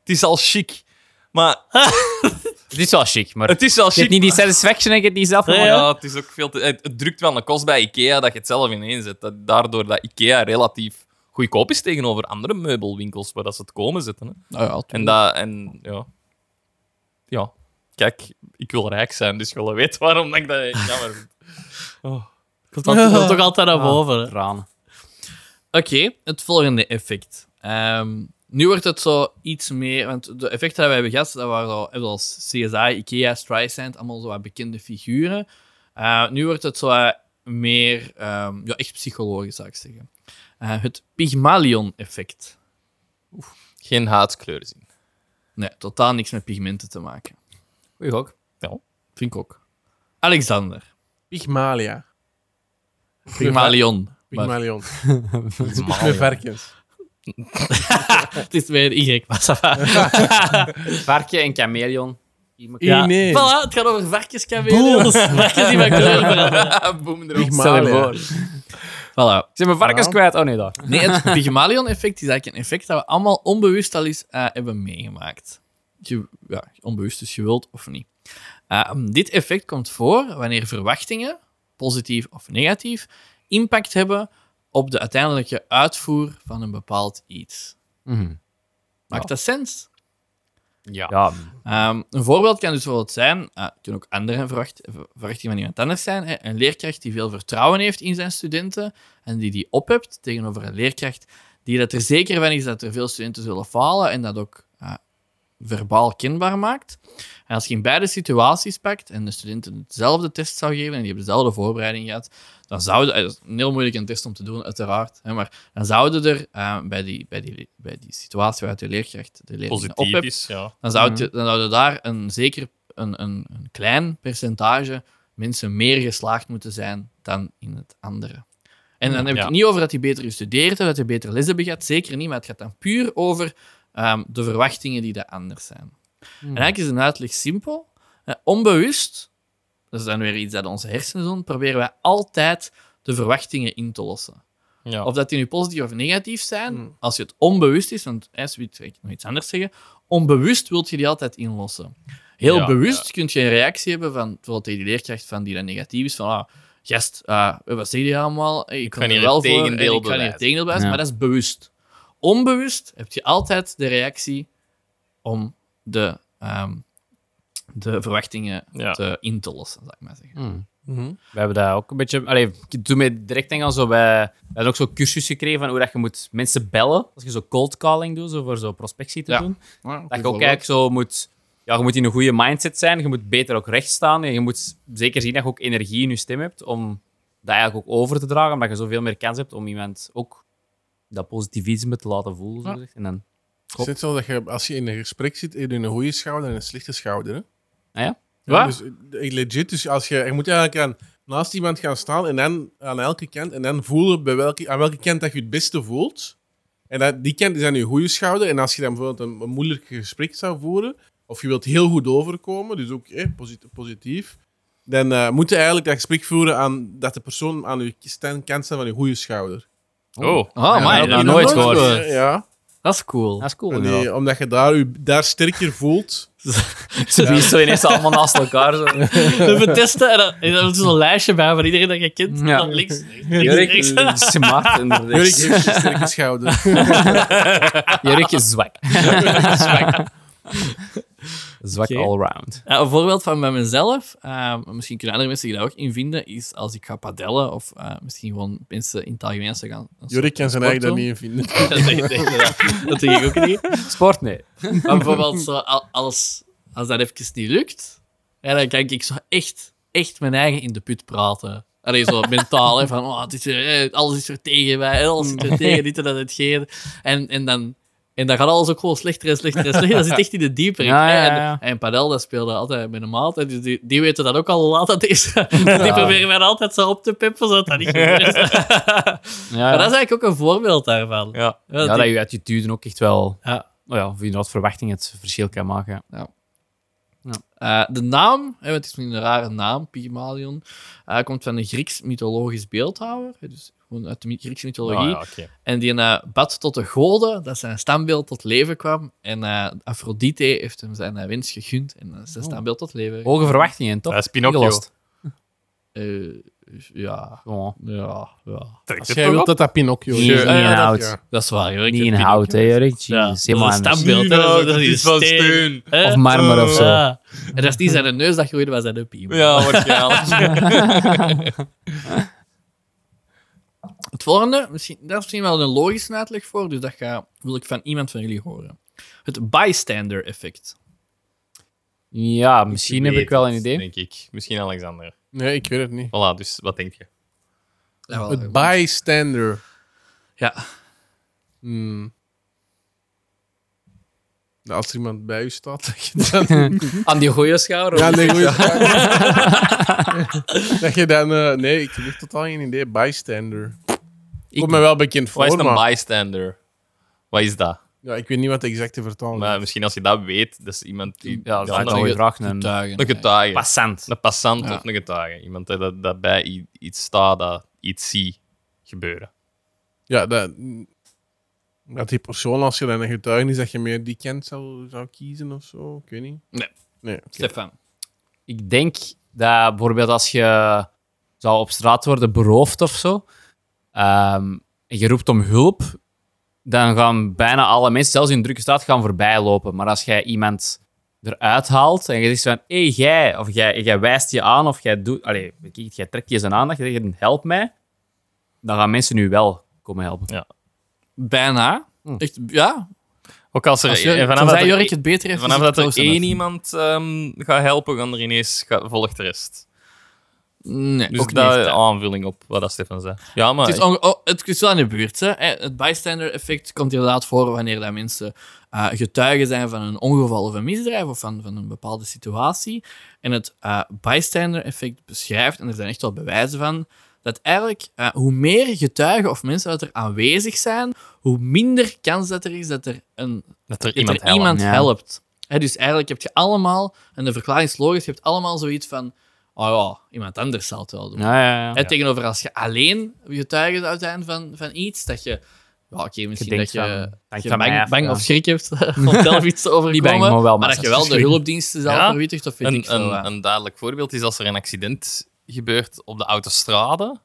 A: Het is al chic. Maar
D: het is wel chic, maar
A: het is wel
D: je
A: chic,
D: hebt niet die satisfaction en je hebt niet zelf
A: Ja,
D: gemaakt.
A: ja, het is ook veel te... Het, het drukt wel een kost bij IKEA dat je het zelf ineens zet. Dat, daardoor dat IKEA relatief goedkoop is tegenover andere meubelwinkels waar dat ze het komen zetten. Hè. En dat... En, ja. ja. Kijk, ik wil rijk zijn, dus je wil weten waarom dat ik dat jammer vind.
C: Komt dat komt toch altijd naar boven. hè?
D: Tranen.
C: Oké, het volgende effect. Ehm, nu wordt het zo iets meer... Want de effecten die we hebben gehad, dat waren zo, even als CSI, Ikea, Streisand, allemaal zo wat bekende figuren. Eh, nu wordt het zo wat meer... ehm, ja, echt psychologisch, zou ik zeggen. Eh, het Pygmalion-effect.
A: Geen haatskleur zien.
C: Nee, totaal niks met pigmenten te maken.
D: Goeie ook.
C: Vind ik ook. Alexander.
B: Pygmalia.
C: Pygmalion. Maar
B: Pygmalion. Met varkens.
C: het is weer een Y, maar ça va.
D: Varkje en chameleon.
C: Ja.
B: Ineens.
C: Voilà, het gaat over varkenskameleons. Varkens die van kleur veranderen.
A: Boem erop.
D: Stel je
B: Pygmalia.
D: voor. Ze
C: Voilà.
D: zijn mijn varkens
B: Ja.
D: kwijt. Oh nee, daar.
C: Nee, het Pygmalion-effect is eigenlijk een effect dat we allemaal onbewust al eens eh, hebben meegemaakt. Je, ja, onbewust, dus je wilt of niet. Eh, dit effect komt voor wanneer verwachtingen, positief of negatief, impact hebben op de uiteindelijke uitvoer van een bepaald iets. Maakt dat sens?
A: Ja.
D: Ja,
C: Ehm, een voorbeeld kan dus bijvoorbeeld zijn, eh, het kunnen ook andere verwacht, verwachtingen van iemand anders zijn, hè. een leerkracht die veel vertrouwen heeft in zijn studenten en die die ophebt tegenover een leerkracht die dat er zeker van is dat er veel studenten zullen falen en dat ook eh, verbaal kenbaar maakt. En als je in beide situaties pakt en de studenten dezelfde test zou geven en die hebben dezelfde voorbereiding gehad, dan zouden, eh, dat is een heel moeilijk een test om te doen, uiteraard, hè, maar dan zouden er eh, bij, die, bij, die, bij die situatie waaruit de leerkracht de leerlingen
A: Positief
C: ophebt,
A: is, ja.
C: dan zou, je, dan zou je daar een zeker een, een, een klein percentage mensen meer geslaagd moeten zijn dan in het andere. En dan heb ik
A: Ja.
C: het niet over dat die beter gestudeerd hebben, dat die beter les hebben gehad, zeker niet, maar het gaat dan puur over ehm, de verwachtingen die daar anders zijn.
A: Hmm.
C: En eigenlijk is een uitleg simpel. Eh, onbewust, dat is dan weer iets dat onze hersenen doen, proberen wij altijd de verwachtingen in te lossen.
A: ja.
C: Of dat die nu positief of negatief zijn,
B: Hmm.
C: als je het onbewust is, want hè, zoiets- ik moet iets anders zeggen, onbewust wil je die altijd inlossen. Heel
A: Ja,
C: bewust kun je een reactie hebben van bijvoorbeeld tegen die leerkracht van die dan negatief is, van ah, gast, ah, wat zeg je allemaal? Ik,
A: ga
C: ben
A: hier
C: er wel
A: het
C: voor,
A: tegendeel
C: en ik ga hier
A: bewijzen.
C: het tegendeel bewijzen,
D: Ja.
C: maar dat is bewust. Onbewust heb je altijd de reactie om de, ehm, de verwachtingen
A: Ja.
C: te in te lossen, zou ik maar zeggen.
D: We hebben daar ook een beetje. Allee, ik doe mij direct denk aan zo bij. We hadden ook zo'n cursus gekregen van hoe dat je moet mensen bellen. Als je zo cold calling doet, zo voor zo'n prospectie te
C: Ja.
D: doen. Dat je ook eigenlijk zo moet. Ja, je moet in een goede mindset zijn. Je moet beter ook recht staan. En je moet zeker zien dat je ook energie in je stem hebt om dat eigenlijk ook over te dragen. Omdat je zoveel meer kans hebt om iemand ook dat positivisme te laten voelen. zo gezegd. En dan,
B: Het is net zo dat je, als je in een gesprek zit, heb je een goede schouder en een slechte schouder. Hè?
D: nou ja.
B: Ja,
D: Wat?
B: dus, eh, legit, dus als je, je moet eigenlijk aan, naast iemand gaan staan en dan aan elke kant en dan voelen bij welke, aan welke kant dat je het beste voelt. En dat, die kant is aan je goede schouder. En als je dan bijvoorbeeld een, een moeilijk gesprek zou voeren, of je wilt heel goed overkomen, dus ook eh, posit- positief, dan eh, moet je eigenlijk dat gesprek voeren aan dat de persoon aan je stand- kant staat van je goede schouder.
A: Oh.
C: Oh,
D: Ah,
C: maar
D: Ja, dat heb ik
C: dat,
D: nog nooit gehoord.
B: Eh, Ja,
C: is cool.
D: Dat is cool.
B: en die-
D: inderdaad.
B: omdat je daar, je daar sterker voelt.
D: Die is zo ineens allemaal naast elkaar. Zo.
C: Even testen. En dan, en dan is er zo'n lijstje bij van iedereen dat je kent.
D: Ja.
C: Dan links, links,
D: Jurk
C: links.
D: is smart en
B: Jurk
D: rechts.
B: heeft een sterke schouder.
D: Jurk is zwak. Zwak
C: Oké.
D: allround.
C: Ja, een voorbeeld van bij mezelf, eh, misschien kunnen andere mensen zich daar ook in vinden, is als ik ga padellen of eh, misschien gewoon mensen in het algemeen zou gaan. een
B: Jurk
C: soort
B: kan zijn
C: sport
B: eigen daar
C: doen.
B: niet in vinden.
C: dat, denk ik- dat, dat denk ik ook niet.
D: Sport, nee.
C: Maar bijvoorbeeld, zo, al- als, als dat even niet lukt, ja, dan kan ik zo echt, echt mijn eigen in de put praten. Allee, zo mentaal, hè, van oh, het is weer, eh, alles is weer tegen mij, hè, alles is weer tegen dit en dat en hetgeen. En, en dan... En dan gaat alles ook gewoon slechter en slechter en slechter. Dat zit echt in de dieper.
D: Ja, ja,
C: En-
D: ja.
C: En, Padel, dat speelde altijd met een maat. En die, die, die weten dat ook al laat dat is. Dus Die proberen mij altijd zo op te peppen, zodat dat niet gebeurt.
D: Ja,
C: Maar dat is eigenlijk ook een voorbeeld daarvan.
A: Ja.
C: dat
D: ja,
C: die-
D: dat je attitude ook echt wel...
C: Ja.
D: Nou ja, of je wat verwachting het verschil kan maken.
C: Eh, de naam, hè, het is misschien een rare naam, Pygmalion, eh, komt van een Grieks mythologisch beeldhouwer. hè, Dus gewoon uit de my- Griekse mythologie.
A: Ah, ja, oké.
C: En die eh, bad tot de goden, dat zijn standbeeld tot leven kwam. En eh Aphrodite heeft hem zijn eh, wens gegund en dat is zijn
D: Oh.
C: standbeeld tot leven.
D: Hoge verwachtingen, toch?
A: Dat is Pinocchio.
D: Ingelost.
C: Eh, ja,
D: Gewoon.
C: ja, ja.
A: Trekt
B: Als
A: het toch
B: jij wilt
A: op?
B: dat dat Pinocchio
D: Niet, niet
C: ja, ja,
D: in
C: dat-
D: hout.
C: Dat is waar, hoor. Ik
D: Niet
C: heb
D: in
C: die niet
D: hout, hè,
C: gezien.
D: Jurk.
C: Ja, dat
D: Jeez,
C: is
D: helemaal
C: een
D: anders.
C: standbeeld, hè. Dat is, dat
A: Het
C: is een
A: is van
C: steen.
A: steun.
C: Hè?
D: Of marmer of zo.
C: Ja. En dat is die zijn neus dat groeide, was zijn een piemel.
A: Ja, waarschijnlijk.
C: Het volgende, misschien, daar is misschien wel een logische uitleg voor, dus dat ga, wil ik van iemand van jullie horen. Het bystander effect.
D: Ja, misschien heb
A: Weet
D: ik wel een
A: het,
D: idee.
A: Denk ik. Misschien Alexander.
B: Nee, ik weet het niet.
A: Voilà, dus wat denk je?
B: Het bystander.
C: Ja.
B: Hmm. Nou, Als er iemand bij u staat, dat je dan...
D: Aan die goede schouder?
B: ja, nee, goeie vraag. dat je dan... eh, nee, ik heb echt totaal geen idee. Bystander. Komt mij wel bekend
A: Wat is
B: voor,
A: een
B: maar...
A: bystander? Wat is dat?
B: Ja, ik weet niet wat de exacte vertaling
A: Maar
B: is.
A: misschien als je dat weet, dat is iemand die...
D: Ja,
A: die andere-
D: dat je vraagt. Een
A: een
C: Getuigen.
A: getuige.
D: passant.
A: Een passant
C: Ja.
A: of een getuige. Iemand die dat, dat bij i- iets staat, dat iets ziet gebeuren.
B: Ja, dat... Dat die persoon, als je dan een getuige is, dat je meer die kent zou, zou kiezen of zo. Ik weet niet.
C: Nee.
B: Nee, oké.
C: Stefan.
D: Ik denk dat bijvoorbeeld als je zou op straat worden beroofd of zo, ehm, en je roept om hulp, dan gaan bijna alle mensen, zelfs in drukke straat, gaan voorbij lopen. Maar als jij iemand eruit haalt en je zegt van, hé, hey, jij, of jij, jij wijst je aan, of jij doet, allee, weet ik, jij trekt je zijn aandacht, je zegt, help mij, dan gaan mensen nu wel komen helpen.
C: Bijna. Echt, ja.
A: Ook als er,
C: Als Jurk,
A: Hm. en vanaf
C: tenzij
A: dat er-
C: Jurk het beter heeft,
A: Vanaf
C: is het
A: dat er
C: Roosevelt.
A: één iemand ehm, gaat helpen, gaan er ineens ga, volgt de rest.
C: Nee,
A: Dus
C: ook
A: dat
C: niet.
A: aanvulling op wat dat Stefan zei. Ja, maar
C: Het is, onge- oh, het is wel in de buurt. Hè. Eh, Het bystander-effect komt inderdaad voor wanneer dat mensen eh, getuigen zijn van een ongeval of een misdrijf of van, van een bepaalde situatie. En het eh, bystander-effect beschrijft, en er zijn echt wel bewijzen van, dat eigenlijk eh, hoe meer getuigen of mensen dat er aanwezig zijn, hoe minder kans dat er is dat er, een,
A: dat er
C: dat
A: iemand
C: er iemand
D: ja.
C: helpt. Hè, dus eigenlijk heb je allemaal, en de verklaring is logisch, je hebt allemaal zoiets van, oh ja, iemand anders zal het wel doen.
D: Ja, ja, ja.
C: Hè, Tegenover als je alleen getuige zou zijn van, van iets, dat je... Ja, oké, misschien dat
D: denkt
C: je,
D: van,
C: dat
D: dank
C: je
D: van
C: bang,
D: mij af,
C: bang
D: ja.
C: of schrik hebt om zelf iets te overkomen.
D: bang, maar wel
C: dat je wel de
D: massasverschrikken.
C: hulpdiensten zelf
A: Ja.
C: verwittigt, of weet ik
A: Een,
C: veel wat.
A: een, een duidelijk voorbeeld is als er een accident gebeurt op de autostrade.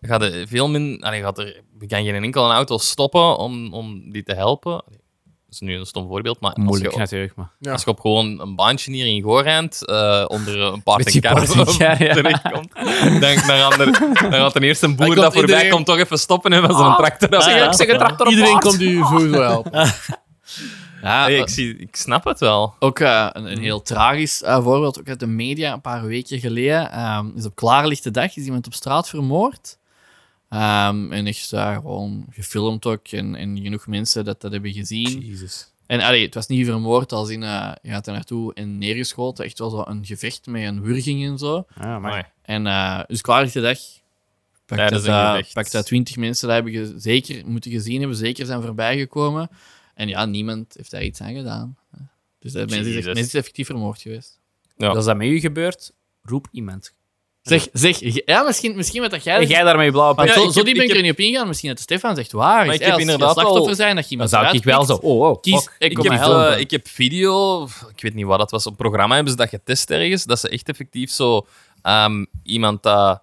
A: Gaat er veel min, allee, gaat er, je kan geen enkele auto stoppen om, om die te helpen. Allee, Dat is nu een stom voorbeeld, maar als
D: Moeilijk
A: je, op,
D: natuurlijk, maar...
B: Ja.
A: als je op gewoon een baantje hier in Goorend eh, onder een paard en
D: Met die
A: kar
D: paard en kar, ja.
A: terechtkomt, denk dan gaat er, dan gaat er eerst een boer
C: komt
A: dat voorbij
C: iedereen-
A: komt toch even stoppen en
C: Ah.
A: van zo'n tractor. af.
D: zeg, ik zeg een tractor op
B: Iedereen
D: paard.
B: komt u sowieso helpen.
C: Ja,
A: Allee,
C: eh,
A: Ah, ik, zie, ik snap het wel.
C: Ook eh, een, een heel tragisch eh, voorbeeld, ook uit de media, een paar weken geleden. ehm, is op klaarlichte dag is iemand op straat vermoord. Ehm, en echt daar gewoon gefilmd ook, en, en genoeg mensen dat dat hebben gezien.
A: Jezus.
C: En allee, het was niet vermoord als in, eh, je gaat er naartoe en neergeschoten. Echt wel zo een gevecht met een wurging en zo.
D: Ja, maar...
C: En eh, dus klaar is de dag. Pak
A: Ja, dat
C: dat,
A: is een
C: eh,
A: gevecht.
C: pak dat 20 mensen dat hebben ge- zeker moeten gezien hebben, zeker zijn voorbijgekomen. En ja, niemand heeft daar iets aan gedaan. Dus dat mensen is,
A: Jezus.
C: mensen is effectief vermoord geweest.
A: Ja.
D: Als dat met u gebeurt, roep iemand.
C: Zeg, zeg, je- ja, misschien, misschien wat dat jij.
D: En jij daarmee blauwe
C: Want
D: pijl.
A: ik
C: zo,
A: heb-
C: zo die ben
A: ik
C: ik er niet op ingegaan. Misschien dat de Stefan zegt waar.
A: Maar
C: is,
A: ik
C: hè,
A: heb
C: als je
A: inderdaad
C: slachtoffer
A: al-
C: zijn, dat je
D: Dan
C: iemand
D: zou
C: eruit
D: ik wel
C: pikt.
D: zo... Oh, oh,
C: Kies-
D: fuck.
C: ik
A: Ik
C: kom
A: heb,
C: maar
A: eh,
C: helpen.
A: ik heb video, of ik weet niet wat dat was, een programma hebben ze dat getest ergens. Dat ze echt effectief zo ehm, iemand dat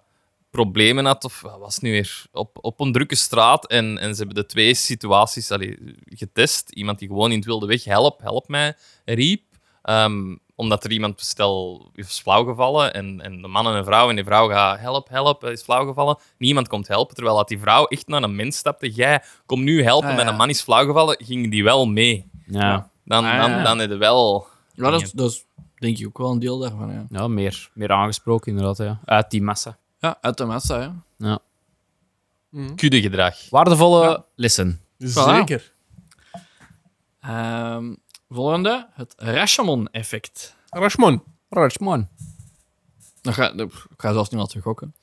A: problemen had, of wat was het nu weer, op, op een drukke straat. En, en ze hebben de twee situaties allee, getest. Iemand die gewoon in het wilde weg, help, help mij, riep. Ehm, omdat er iemand, stel, is flauwgevallen en, en de man en een vrouw en die vrouw gaat help, help, hij is flauwgevallen. Niemand komt helpen, terwijl dat die vrouw echt naar een mens stapte. Jij, kom nu helpen,
C: Ah,
A: met
C: ja.
A: een man is flauwgevallen, ging die wel mee.
D: Ja,
A: Dan,
C: Ah, ja.
A: dan, dan heb je wel.
C: Ja, dat is, dat is denk ik ook wel een deel daarvan. Ja,
D: ja meer, meer aangesproken inderdaad. Ja. Uit die massa.
C: ja uit de massa, hè.
A: Kudde gedrag.
D: Waardevolle lessen.
B: Zeker.
C: Ehm, volgende, het Rashomon-effect.
B: Rashmon.
D: Rutschman.
C: Nou, ga, ik ga zelfs niet laten gokken.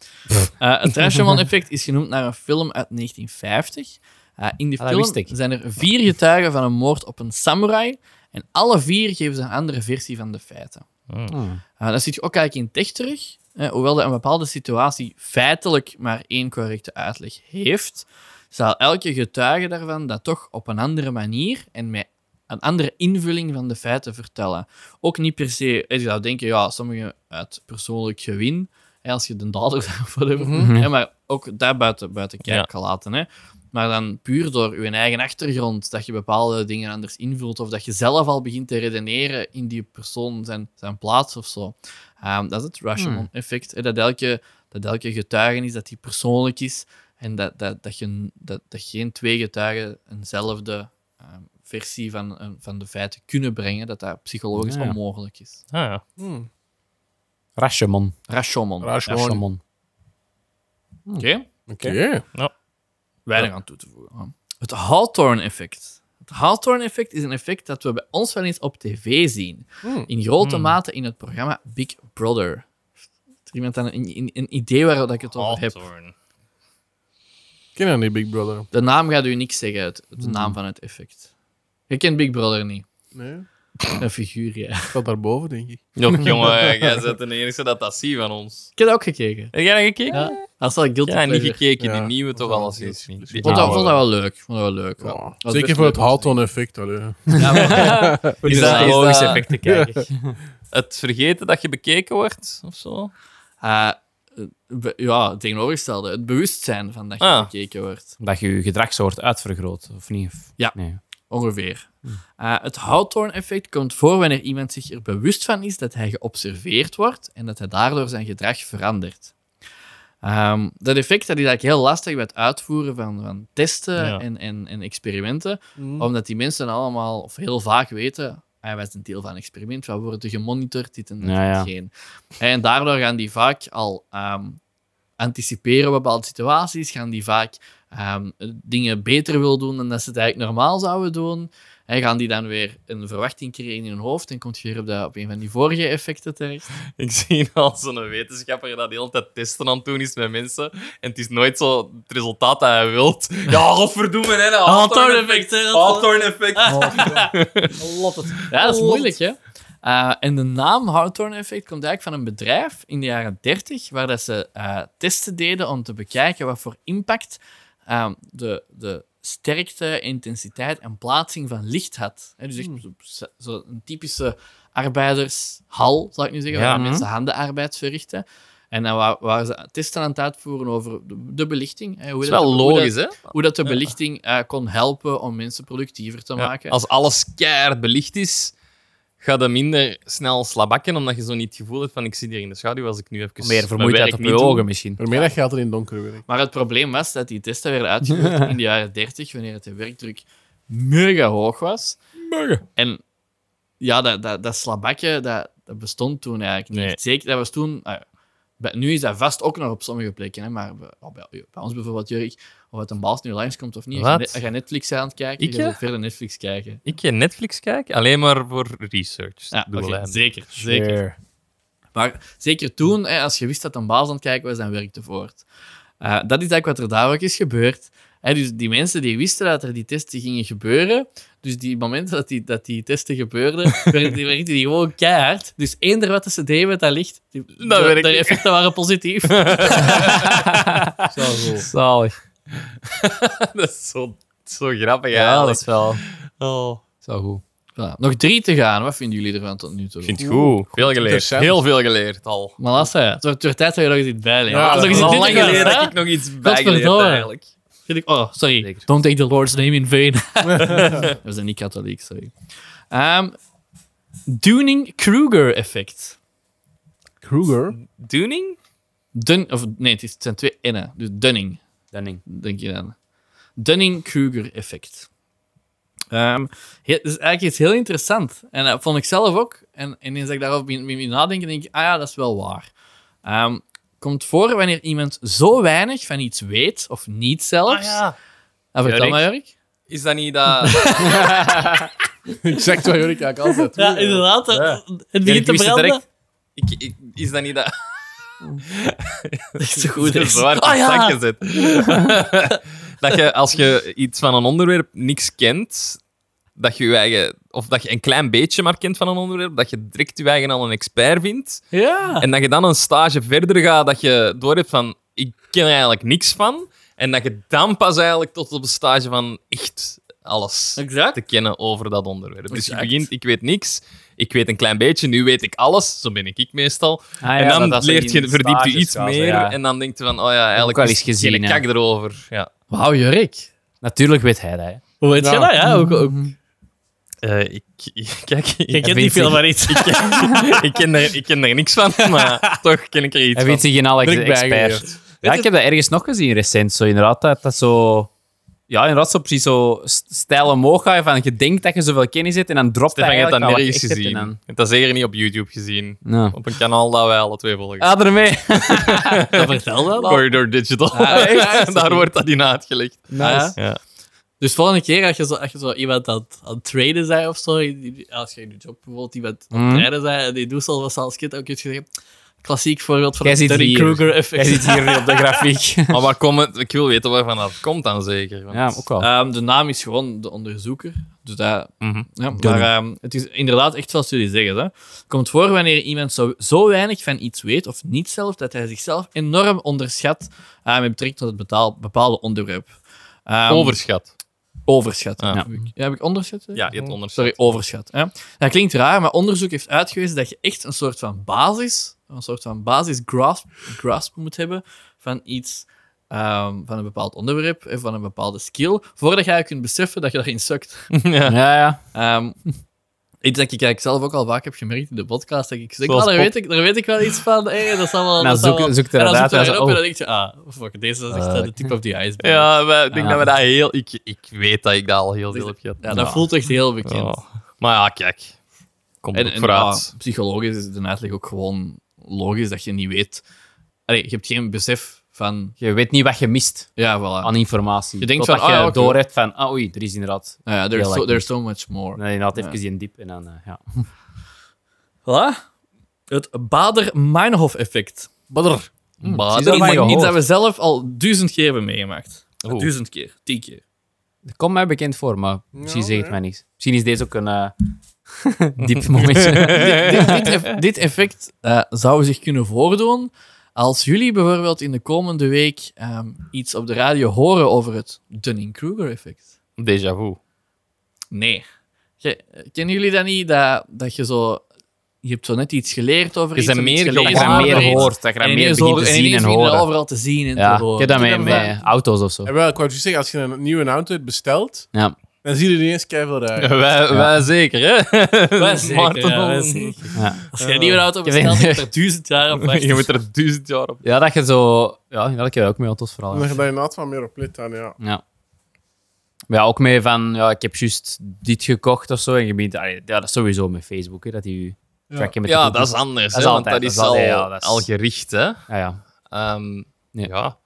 C: Eh, het Rashomon-effect is genoemd naar een film uit 1950. Eh, in die
D: Ah, dat wist
C: film
D: ik.
C: zijn er vier getuigen van een moord op een samurai. En alle vier geven ze een andere versie van de feiten.
D: Hmm.
C: Eh, dat zit je ook eigenlijk in tech terug. eh, hoewel dat een bepaalde situatie feitelijk maar één correcte uitleg heeft, zal elke getuige daarvan dat toch op een andere manier en met een andere invulling van de feiten vertellen. Ook niet per se, eh, je zou denken, ja, sommigen uit persoonlijk gewin, hè, als je de dader bent of whatever, hè, maar ook daar buiten, buiten
A: Ja.
C: kijf kan laten. Hè. Maar dan puur door je eigen achtergrond, dat je bepaalde dingen anders invult, of dat je zelf al begint te redeneren in die persoon zijn, zijn plaats of zo. Ehm, dat is het Rashomon-effect. hè, Dat elke, dat elke getuige is, dat die persoonlijk is, en dat, dat, dat, je, dat, dat geen twee getuigen eenzelfde ehm, versie van, eh, van de feiten kunnen brengen, dat dat psychologisch
D: Ja, ja.
C: onmogelijk is.
A: Ah, ja.
D: Rashomon.
C: Rashomon.
B: Rashmon. Oké.
D: Rashomon.
C: Oké,
A: Weinig
C: weinig aan toe te voegen. Het Hawthorne-effect. Het Hawthorne-effect is een effect dat we bij ons wel eens op tv zien.
B: Hmm.
C: In grote mate in het programma Big Brother. Heeft er iemand aan een, een, een idee waar dat ik het over heb?
A: Hawthorne.
B: Ik ken dat niet, Big Brother.
C: De naam gaat u niks zeggen, het, de naam van het effect. Je kent Big Brother niet.
B: Nee.
C: Een figuur, ja.
B: Ik zat daarboven, denk ik.
A: Joch, jongen, jij bent de enige dat dat ziet van ons.
C: Ik heb dat ook gekeken.
A: Heb jij dat gekeken? Ja,
C: Ja. Dat is wel guilty
A: niet
C: pleasure.
A: gekeken. Nou,
B: Ja.
A: Die nieuwe toch
B: Ja.
A: wel als eerst niet. Die
C: Ik vond dat,
A: oude.
C: vond dat wel leuk. Vond dat wel leuk. ja.
B: Oh.
C: Dat was best
B: Zeker voor het
C: leuk om te
B: Halton-effect. allee.
C: zien. Ja, maar-
A: Is dat- is
D: logisch
A: dat
D: effect te kijken.
A: het vergeten dat je bekeken wordt of zo?
C: Eh, be- ja, het tegenovergestelde. Het bewustzijn van dat je
A: Ah.
C: bekeken wordt.
D: Dat je je gedragssoort uitvergroot, of niet? Of-
C: Ja.
D: Nee.
C: Ongeveer.
D: Hm.
C: Eh, het Hawthorne-effect komt voor wanneer iemand zich er bewust van is dat hij geobserveerd wordt en dat hij daardoor zijn gedrag verandert. Ehm, dat effect dat is eigenlijk heel lastig bij het uitvoeren van, van testen
D: Ja. Hm.
C: en, en, en experimenten,
B: Mm.
C: omdat die mensen allemaal of heel vaak weten, hij was een deel van een experiment, we worden gemonitord, dit en dat
D: Ja, ja.
C: en geen. En daardoor gaan die vaak al ehm, anticiperen op bepaalde situaties, gaan die vaak ehm, dingen beter wil doen dan dat ze het eigenlijk normaal zouden doen. En gaan die dan weer een verwachting creëren in hun hoofd en komt je weer op, dat, op een van die vorige effecten terecht.
A: Ik zie al zo'n wetenschapper dat de hele tijd testen aan het doen is met mensen. En het is nooit zo het resultaat dat hij wilt. Ja, godverdomme, hè.
C: Hawthorne-effect, hè, dat-
A: Hawthorne-effect.
C: Ja, dat
A: Lot.
C: is moeilijk, hè? Eh, en de naam Hawthorne Effect komt eigenlijk van een bedrijf in de jaren 30, waar dat ze eh, testen deden om te bekijken wat voor impact ehm, de, de sterkte, intensiteit en plaatsing van licht had. Hè, dus
A: Hmm.
C: echt zo- zo- zo'n typische arbeidershal, zal ik nu zeggen,
D: Ja,
C: waar
D: mhm.
C: mensen
A: hmm.
C: handenarbeid verrichten. En dan wa- waren ze testen aan het uitvoeren over de, de belichting. Hè, hoe
A: Dat is
C: dat-
A: wel
C: hoe dat-
A: logisch, hè?
C: Hoe dat de belichting eh, kon helpen om mensen productiever te
A: Ja,
C: maken.
A: Als alles keihard belicht is, ga je minder snel slabakken, omdat je zo niet het gevoel hebt van ik zit hier in de schaduw als ik nu even...
D: Meer
A: mijn werk
D: vermoeidheid op
A: niet
D: je
A: doe.
D: ogen misschien.
B: Vanmiddag gaat er in donker werk.
C: Maar het probleem was dat die testen werden uitgevoerd in de jaren 30, wanneer het de werkdruk mega hoog was. En ja, dat, dat, dat slabakje, dat, dat bestond toen eigenlijk niet.
A: Nee.
C: Zeker, dat was toen... ah ja, bij- nu is dat vast ook nog op sommige plekken, hè, maar bij, oh, bij, bij ons bijvoorbeeld, Jurk, of het een baas nu langskomt of niet, je
A: Wat?
C: gaat net- je gaat Netflix aan het kijken,
A: Ik,
C: je
A: ja?
C: gaat verder Netflix kijken.
A: Ik je Netflix kijk alleen maar voor research.
C: Ja,
A: Dubbel
C: oké,
A: eind.
C: zeker, zeker. Maar zeker toen, hè, als je wist dat een baas aan het kijken was, dan werkte voort. Eh, dat is eigenlijk wat er daar ook is gebeurd. Hè, dus die mensen die wisten dat er die testen gingen gebeuren, dus die momenten dat die, dat die testen gebeurden, werkten die, werkten die gewoon keihard. Dus eender wat dat ze deden met dat licht, die, de,
A: werkt
C: de
A: niet.
C: effecten waren positief.
B: Zo, zo.
D: Zalig.
A: dat is zo, zo grappig,
D: Ja, dat
A: eigenlijk.
D: is wel,
A: Oh.
D: zo goed.
C: Voilà. Nog drie te gaan. Wat vinden jullie ervan tot nu toe?
A: Ik vind het goed. Veel geleerd.
B: interessant.
A: Heel veel geleerd al.
C: Malassa, het wordt het wordt tijd dat je nog eens iets bijleert.
B: Ja,
C: Want
B: dat
C: nog eens
B: is
C: iets
A: Ah, al lang
C: dit te gaan,
A: geleden
C: hè?
A: dat ik nog iets bijgeleerd heb,
C: Godverdomme.
A: eigenlijk.
C: Vind ik, oh, sorry.
D: Zeker.
C: Don't take the Lord's name in vain. We zijn niet katholiek, sorry. Ehm Dunning-Kruger-effect.
B: Kruger.
A: Tuning?
C: Dun of nee, het, is, het zijn twee N'en. Dus Dunning,
D: Dunning.
C: denk je dan. Dunning-Kruger-effect. Ehm he- dat is eigenlijk iets heel interessant. En dat vond ik zelf ook. En ineens dat ik daarover begin, begin nadenken, denk ik, ah ja, dat is wel waar. Ehm, komt voor wanneer iemand zo weinig van iets weet, of niet zelfs. Ah, vertel
A: Jurk.
C: maar, Jurk.
A: Is dat niet dat...
B: ik zeg wel, Jorik, eigenlijk altijd.
C: Ja, inderdaad. Het
D: Jurk,
C: begint te
D: wist het
C: branden.
D: direct.
A: ik, ik- is dat niet dat...
C: Echt zo goed.
A: Dat
C: hè?
A: is zwaar
C: Ah, ja.
A: contact gezet. dat je, als je iets van een onderwerp niks kent, dat je je eigen... Of dat je een klein beetje maar kent van een onderwerp, dat je direct je eigen al een expert vindt.
C: ja.
A: En dat je dan een stage verder gaat, dat je doorhebt van, ik ken er eigenlijk niks van. En dat je dan pas eigenlijk tot op een stage van echt alles
C: Exact.
A: te kennen over dat onderwerp. Dus je
C: Exact.
A: begint, ik weet niks, ik weet een klein beetje, nu weet ik alles, zo ben ik, ik meestal.
D: Ah,
A: en
D: ja,
A: dan
D: dat- dat ze
A: leert
D: in
A: je, verdiept je
D: stages
A: iets
D: gaan,
A: meer
D: ja.
A: en dan denk je van, oh ja, eigenlijk
D: wel
A: is
D: eens gezien,
A: geen
D: hè.
A: kak erover. Ja.
C: Wauw, Jurk.
D: Natuurlijk weet hij dat. hè.
C: Hoe weet
B: Ja.
C: je dat? Ja, ook, ook.
A: Eh, ik, ik- kijk,
C: Je
A: ik,
C: kent
D: vindt
C: niet veel
D: zich-
C: van iets.
A: ik, ken er, ik ken er niks van, maar toch ken ik er iets
D: Hij
A: van.
D: weet zich in alle
B: Ben ik
D: expert.
B: bijgeleerd.
D: Ja, ik heb dat ergens nog gezien recent. Zo, inderdaad, dat, dat zo... Ja, inderdaad, zo precies zo st- stijl omhoog gaan van je denkt dat je zoveel kennis hebt en dan dropt hij
A: Stefan, je hebt dat
D: eigenlijk al wat
A: nergens
D: je echt hebt
A: gezien.
D: en
A: Je hebt dat zeker niet op YouTube gezien.
D: dan- Ja.
A: Op een kanaal dat wij alle twee volgen.
D: Ah, ermee.
C: Vertel dat dan.
A: Corridor Digital. Daar wordt dat in uitgelegd.
C: Nice.
A: Ja.
C: Dus volgende keer als je zo, als je zo iemand aan, het- aan het traden zei of zo, die- die- als je in je job bijvoorbeeld iemand aan het
D: Mm.
C: traden zei en die doet zo wat als kind, ook iets gezegd. Klassiek voorbeeld van
D: Jij
C: het
D: zit
C: Dunning
D: hier.
C: Kruger
D: Hij
C: effect.
D: zit hier op de grafiek.
A: Maar waar komt het? Ik wil weten waarvan dat komt dan zeker. want-
D: Ja, ook wel.
C: Ehm, de naam is gewoon de onderzoeker. Dus dat,
A: Mhm.
C: ja, maar ehm, het is inderdaad echt zoals jullie zeggen. Hè. Komt voor wanneer iemand zo, zo weinig van iets weet, of niet zelf, dat hij zichzelf enorm onderschat eh, met betrekking tot het betaal, bepaalde onderwerp. Ehm,
A: Overschat.
C: overschat.
A: Ja.
C: Heb, ik, ja, heb ik onderschat? hè?
A: Ja, je hebt onderschat.
C: Sorry, overschat. Hè? Dat klinkt raar, maar onderzoek heeft uitgewezen dat je echt een soort van basis een soort van basis grasp, grasp moet hebben van iets, ehm, van een bepaald onderwerp, en van een bepaalde skill, voordat jij kunt beseffen dat je daarin sukt.
A: ja.
D: Ja, ja.
C: Ehm, iets dat ik eigenlijk zelf ook al vaak heb gemerkt in de podcast. Dat ik zeg,
D: Zoals
C: "Ah, daar,
D: pop-
C: weet ik, daar weet ik wel iets van. Hey, dat is allemaal,
D: Nou,
C: dat is
D: zoek-
C: allemaal-
D: zoek er
C: en dan
D: inderdaad
C: zoek je
D: wel
C: erop en
D: zo,
C: dan denk je, ah, fuck, deze is echt
D: Eh,
C: eh, de tip of the iceberg.
A: Ja, maar ik denk
D: Ja.
A: dat we dat heel... Ik, ik weet dat ik dat al heel veel heb gehad.
C: Ja, dat voelt echt heel bekend.
A: Ja. Maar ja, kijk. Komt
C: En,
A: ook
C: en,
A: vooruit.
C: ah, psychologisch is de uitleg ook gewoon logisch dat je niet weet. Allee, je hebt geen besef van.
D: Je weet niet wat je mist
C: Ja, voilà.
D: aan informatie.
C: Je denkt
D: Totdat
C: van,
D: je
C: ah, oké.
D: doorhebt van, ah oei, er is inderdaad...
C: Nou ja, there's,
D: Heel
C: so,
D: erg
C: there's so much more.
D: Dan inderdaad
C: Ja.
D: even die diep en dan, eh, ja.
C: Voilà. Het Bader-Meinhof-effect. Bader.
A: Maar
D: zie je
A: er-
D: dat? van
C: Iets dat- iets
D: gehoord.
C: dat we zelf al duizend keer hebben meegemaakt.
A: Oeh.
C: Duizend keer, tien keer.
D: Dat komt mij bekend voor, maar misschien
B: Ja,
D: zegt het
B: hè?
D: mij niks. Misschien is deze ook een eh diep momentje.
C: dit, dit eff- dit effect eh, zou zich kunnen voordoen als jullie bijvoorbeeld in de komende week ehm, iets op de radio horen over het Dunning-Kruger-effect.
A: Déjà vu.
C: Nee. Je- kennen jullie dat niet? Dat, dat je zo... Je hebt zo net iets geleerd over
A: Je
C: iets.
A: bent
C: of iets
A: meer
D: dat je
C: gelezen
A: gewaar
D: er
C: over
D: meer
C: iets,
D: hoort, dat je er
C: En
D: meer
C: ineens,
D: begint
C: hoor,
D: te
C: en
D: zien
C: ineens
D: en
C: begin je dat
D: horen.
C: overal te zien en
D: Ja,
C: te horen.
D: ik heb dat met,
C: Ken je
D: met auto's of zo.
B: En wel, ik wou juist zeggen, als je een nieuwe auto hebt besteld,
D: Ja.
B: dan zie je er ineens keiveel rijden.
A: Wij, wij zeker, hè?
C: Wij zeker,
A: Maarten
C: ja, wij
A: Holland.
C: zeker.
D: Ja.
C: Als je een nieuwe auto
D: Ik weet-
C: bestelt, heb je er duizend jaar op wacht.
A: Je moet er duizend jaar op.
D: ja, dat je zo... Ja, dat heb je ook met auto's vooral.
B: Dan
D: ja.
B: ga je daar inderdaad wat meer op let dan, ja.
D: Ja. Maar ja, ook mee van, ja, ik heb juist dit gekocht of zo. En je bent, allee, ja, dat is sowieso met Facebook, hè, dat die je tracken met de
A: Ja,
D: cookies.
A: dat is anders.
D: Dat is
A: hè, want
D: altijd,
A: dat is,
D: dat is
A: al,
D: altijd, ja, dat is-
A: al gericht, hè?
D: Ja, ja.
A: Ehm,
D: Ja.
A: Ja.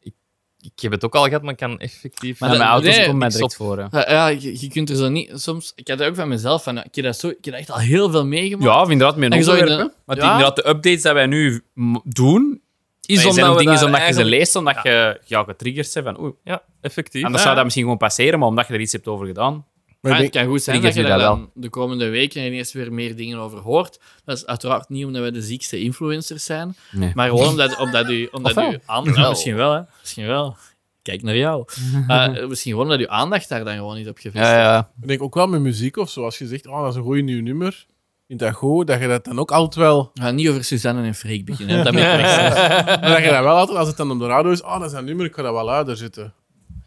A: Ik, ik heb het ook al gehad, maar ik kan effectief.
D: Maar
C: dat-
D: met auto's
C: nee,
D: komt mij
A: ik
D: direct voor, hè.
C: Ja, ja, je, je kunt er zo niet... Soms, ik had dat ook van mezelf. Van, ik, heb dat zo, ik heb dat echt al heel veel meegemaakt.
D: Ja, of inderdaad, met
C: En
D: een
C: je zou
D: onderwerp.
C: inderdaad-
D: hè. Want
C: ja.
D: inderdaad, de updates die wij nu m- doen,
A: Is
D: is
A: omdat
D: zijn ook
A: we
D: dingen
A: daar
D: omdat je ze
A: eigenlijk-
D: leest, omdat je ja, getriggerd bent van, oeh.
A: Ja, effectief.
D: Anders
A: Ja.
D: zou dat misschien gewoon passeren, maar omdat je er iets hebt over gedaan.
B: Maar
C: Ja,
B: ik
C: Ah, het
B: denk-
C: kan goed zijn dat je
D: triggert u
C: daar
D: dat wel?
C: dan de komende weken ineens weer meer dingen over hoort. Dat is uiteraard niet omdat wij de ziekste influencers zijn,
D: Nee.
C: maar gewoon omdat, omdat u, omdat
D: Ofwel.
C: u aandacht... Nou, misschien wel, hè. Misschien wel. Kijk naar jou. Eh, misschien gewoon omdat uw aandacht daar dan gewoon niet op gevestigd
D: Ja, ja.
B: Ik denk ook wel met muziek of zo. Als je zegt, oh, dat is een goed nieuw nummer, vind dat goed, dat je dat dan ook altijd wel...
C: is. We gaan niet over Suzanne en Freek beginnen. hè. Dat merk ik zelf.
B: Maar dat je dat wel altijd, als het dan op de radio is, oh, dat is een nummer, ik ga dat wel luider zitten.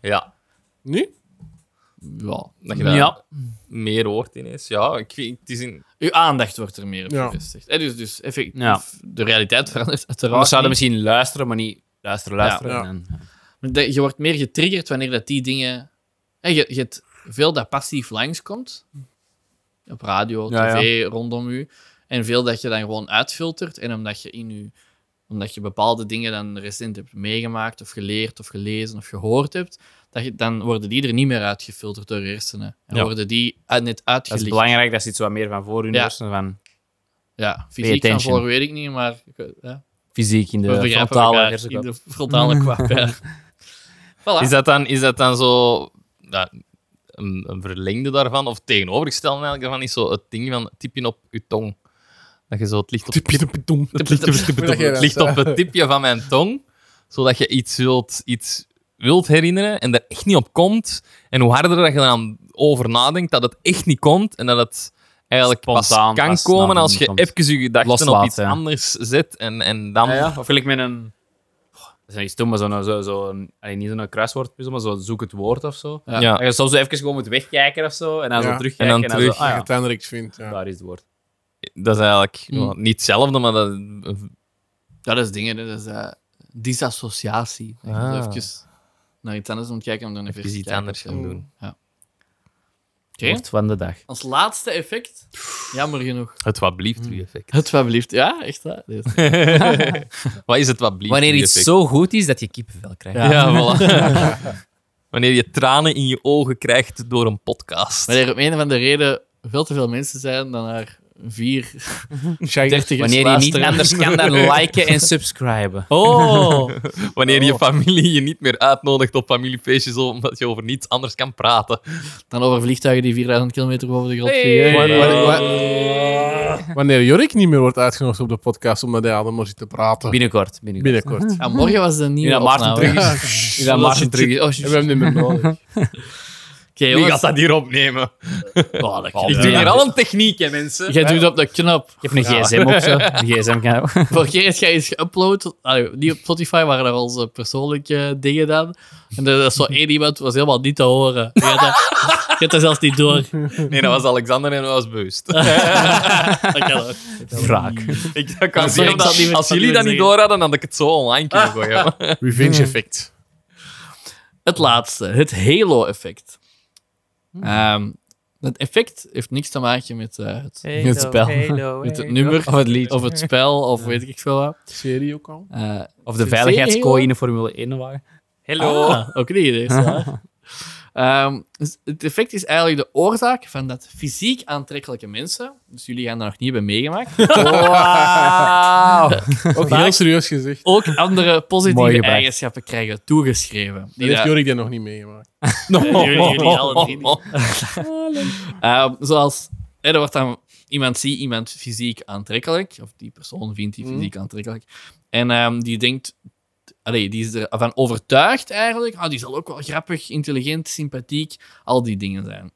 A: Ja,
B: Nu?
C: ja.
A: dat je daar
D: Ja.
A: meer hoort ineens. Ja, ik vind het is in.
C: Uw aandacht wordt er meer op
B: Ja.
C: gevestigd. Hè, Dus, dus effectief,
D: Ja.
C: de realiteit verandert uiteraard
D: Anders zouden
C: niet.
D: misschien luisteren, maar niet luisteren, luisteren.
B: Ja.
D: En, eh, ja.
C: Maar dat- Je wordt meer getriggerd wanneer dat die dingen. hè, Je, je hebt veel dat passief langskomt. Op radio, tv,
D: Ja,
C: rondom u. En veel dat je dan gewoon uitfiltert. En omdat je in je omdat je bepaalde dingen dan recent hebt meegemaakt, of geleerd, of gelezen, of gehoord hebt, dat je, dan worden die er niet meer uitgefilterd door je hersenen. En
A: Ja.
C: worden die uit- net
D: Dat is
C: uitgelicht.
D: belangrijk, dat ze iets wat meer van voor hun
C: Ja.
D: hersenen, van
C: Ja, fysiek van
D: attention.
C: voor weet ik niet, maar ik weet- hè,
D: fysiek in
C: we
D: de
C: begrijpen
D: frontale
C: elkaar
D: hersenkwap.
C: in de frontale kwap. ja. Voilà.
A: Is dat dan, is dat dan zo. ja, een, een verlengde daarvan, of tegenovergestelde eigenlijk daarvan, is zo het ding van tipje op je tong. Dat je zo het licht op het licht op,
B: Moet je
A: het,
B: dat,
A: licht op
B: eh,
A: het tipje van mijn tong, zodat je iets wilt, iets wilt herinneren en er echt niet op komt. En hoe harder dat je dan over nadenkt, dat het echt niet komt en dat het eigenlijk
D: Spontaan
A: pas kan
D: pas
A: komen
D: naar
A: als je
D: boven komt.
A: even je gedachten
D: Loslaat,
A: op iets
D: ja.
A: anders zet en, en dan...
D: Ja, ja. Of gelijk met een... Oh, Dat is iets stom, maar zo'n... Zo, zo, allee, niet zo'n kruiswoordpuzzel, maar zo zoek het woord of zo.
C: Ja.
A: Ja.
D: Dat je soms zo even gewoon moet wegkijken of zo, en dan
B: Ja.
D: zo terugkijken
A: En
D: en
A: dan
D: dan,
A: terug.
D: zo... Ah,
B: Dat je
D: ja,
B: het dan niks vindt, ja.
D: daar is het woord.
A: Dat is eigenlijk
C: Mm.
A: ja, niet hetzelfde, maar dat...
C: Ja, dat is dingen, hè. dat is eh, disassociatie. Dat je
A: Ah.
C: Even naar iets anders moet kijken om dan even
A: Even
C: te
A: iets
C: kijken.
A: anders gaan doen.
C: Oké.
D: Woord van de dag.
C: Als laatste effect, jammer genoeg.
A: Het wat blieft u effect.
C: Het wat blieft. Ja, echt waar. Dit is-
A: Wat is het wat blieft
D: Wanneer
A: u
D: iets
A: effect?
D: zo goed is dat je kippenvel krijgt.
A: Ja, voilà. Wanneer je tranen in je ogen krijgt door een podcast.
C: Wanneer er om een van de reden veel te veel mensen zijn dan naar vier
B: Shaggy.
C: dertigers
D: Wanneer je niet
C: luisteren.
D: anders kan dan liken en subscriben.
C: Oh!
A: Wanneer je familie je niet meer uitnodigt op familiefeestjes omdat je over niets anders kan praten.
C: Dan over vliegtuigen die 4000 kilometer boven de grond
D: Hey.
C: vliegen.
B: Wa- wa- wa-
D: Eh.
B: Wanneer Jorik niet meer wordt uitgenodigd op de podcast omdat hij allemaal zit te praten.
D: Binnenkort, binnenkort.
B: Binnenkort.
C: Ja, morgen was de nieuwe
D: Ja, Maarten
C: opname.
D: terug
B: Ja,
D: Ja, Maarten terug is. Oh,
B: We hebben hem niet meer nodig.
C: Oké,
A: Wie
C: jongens.
A: gaat dat hier opnemen?
C: Oh, dat
A: Ik
C: kan.
A: doe
C: Ja.
A: hier al een techniek, hè, mensen.
C: Jij doet op de knop.
D: Ik heb een gsm ook zo. Een gsm kan ook.
C: Vorige keer had jij iets geüpload. allee, Niet op Spotify, maar naar onze persoonlijke dingen dan. En er was zo één iemand, was helemaal niet te horen. Je had dat, je had dat zelfs niet door.
A: Nee, dat was Alexander en dat was bewust.
C: Dat kan ook.
D: Wraak.
A: ik dat kan
C: Sorry,
A: zeggen
C: ik zal
A: dat-
C: niet-
A: als
C: zal
A: jullie
C: niet
A: dat niet
C: zeggen.
A: door hadden, dan had ik het zo online kunnen gooien.
B: Revenge effect.
C: Het laatste, het Halo-effect. Ehm, het effect heeft niks te maken met, eh, het, met het spel. met het nummer, of het, lied. of het spel, of weet ik veel wat.
B: Serie ook al.
C: Eh,
D: Of de
C: Zee-
D: veiligheidscooi in de Formule 1 waren.
A: Hello.
C: Ah, ook niet eens. dus het effect is eigenlijk de oorzaak van dat fysiek aantrekkelijke mensen, dus jullie gaan daar nog niet bij meegemaakt,
B: Ook heel serieus gezegd.
C: ook andere
D: Mooi
C: positieve
D: gebracht.
C: eigenschappen krijgen toegeschreven.
B: Dat
C: Die
B: heeft
C: daar-
B: Jorik dat nog niet meegemaakt.
C: jullie- jullie alle drie niet. Ehm, zoals, hè, er wordt dan iemand ziet iemand fysiek aantrekkelijk, of die persoon vindt die fysiek aantrekkelijk, en ehm, die denkt, allee, die is ervan overtuigd eigenlijk, ah, die zal ook wel grappig, intelligent, sympathiek, al die dingen zijn.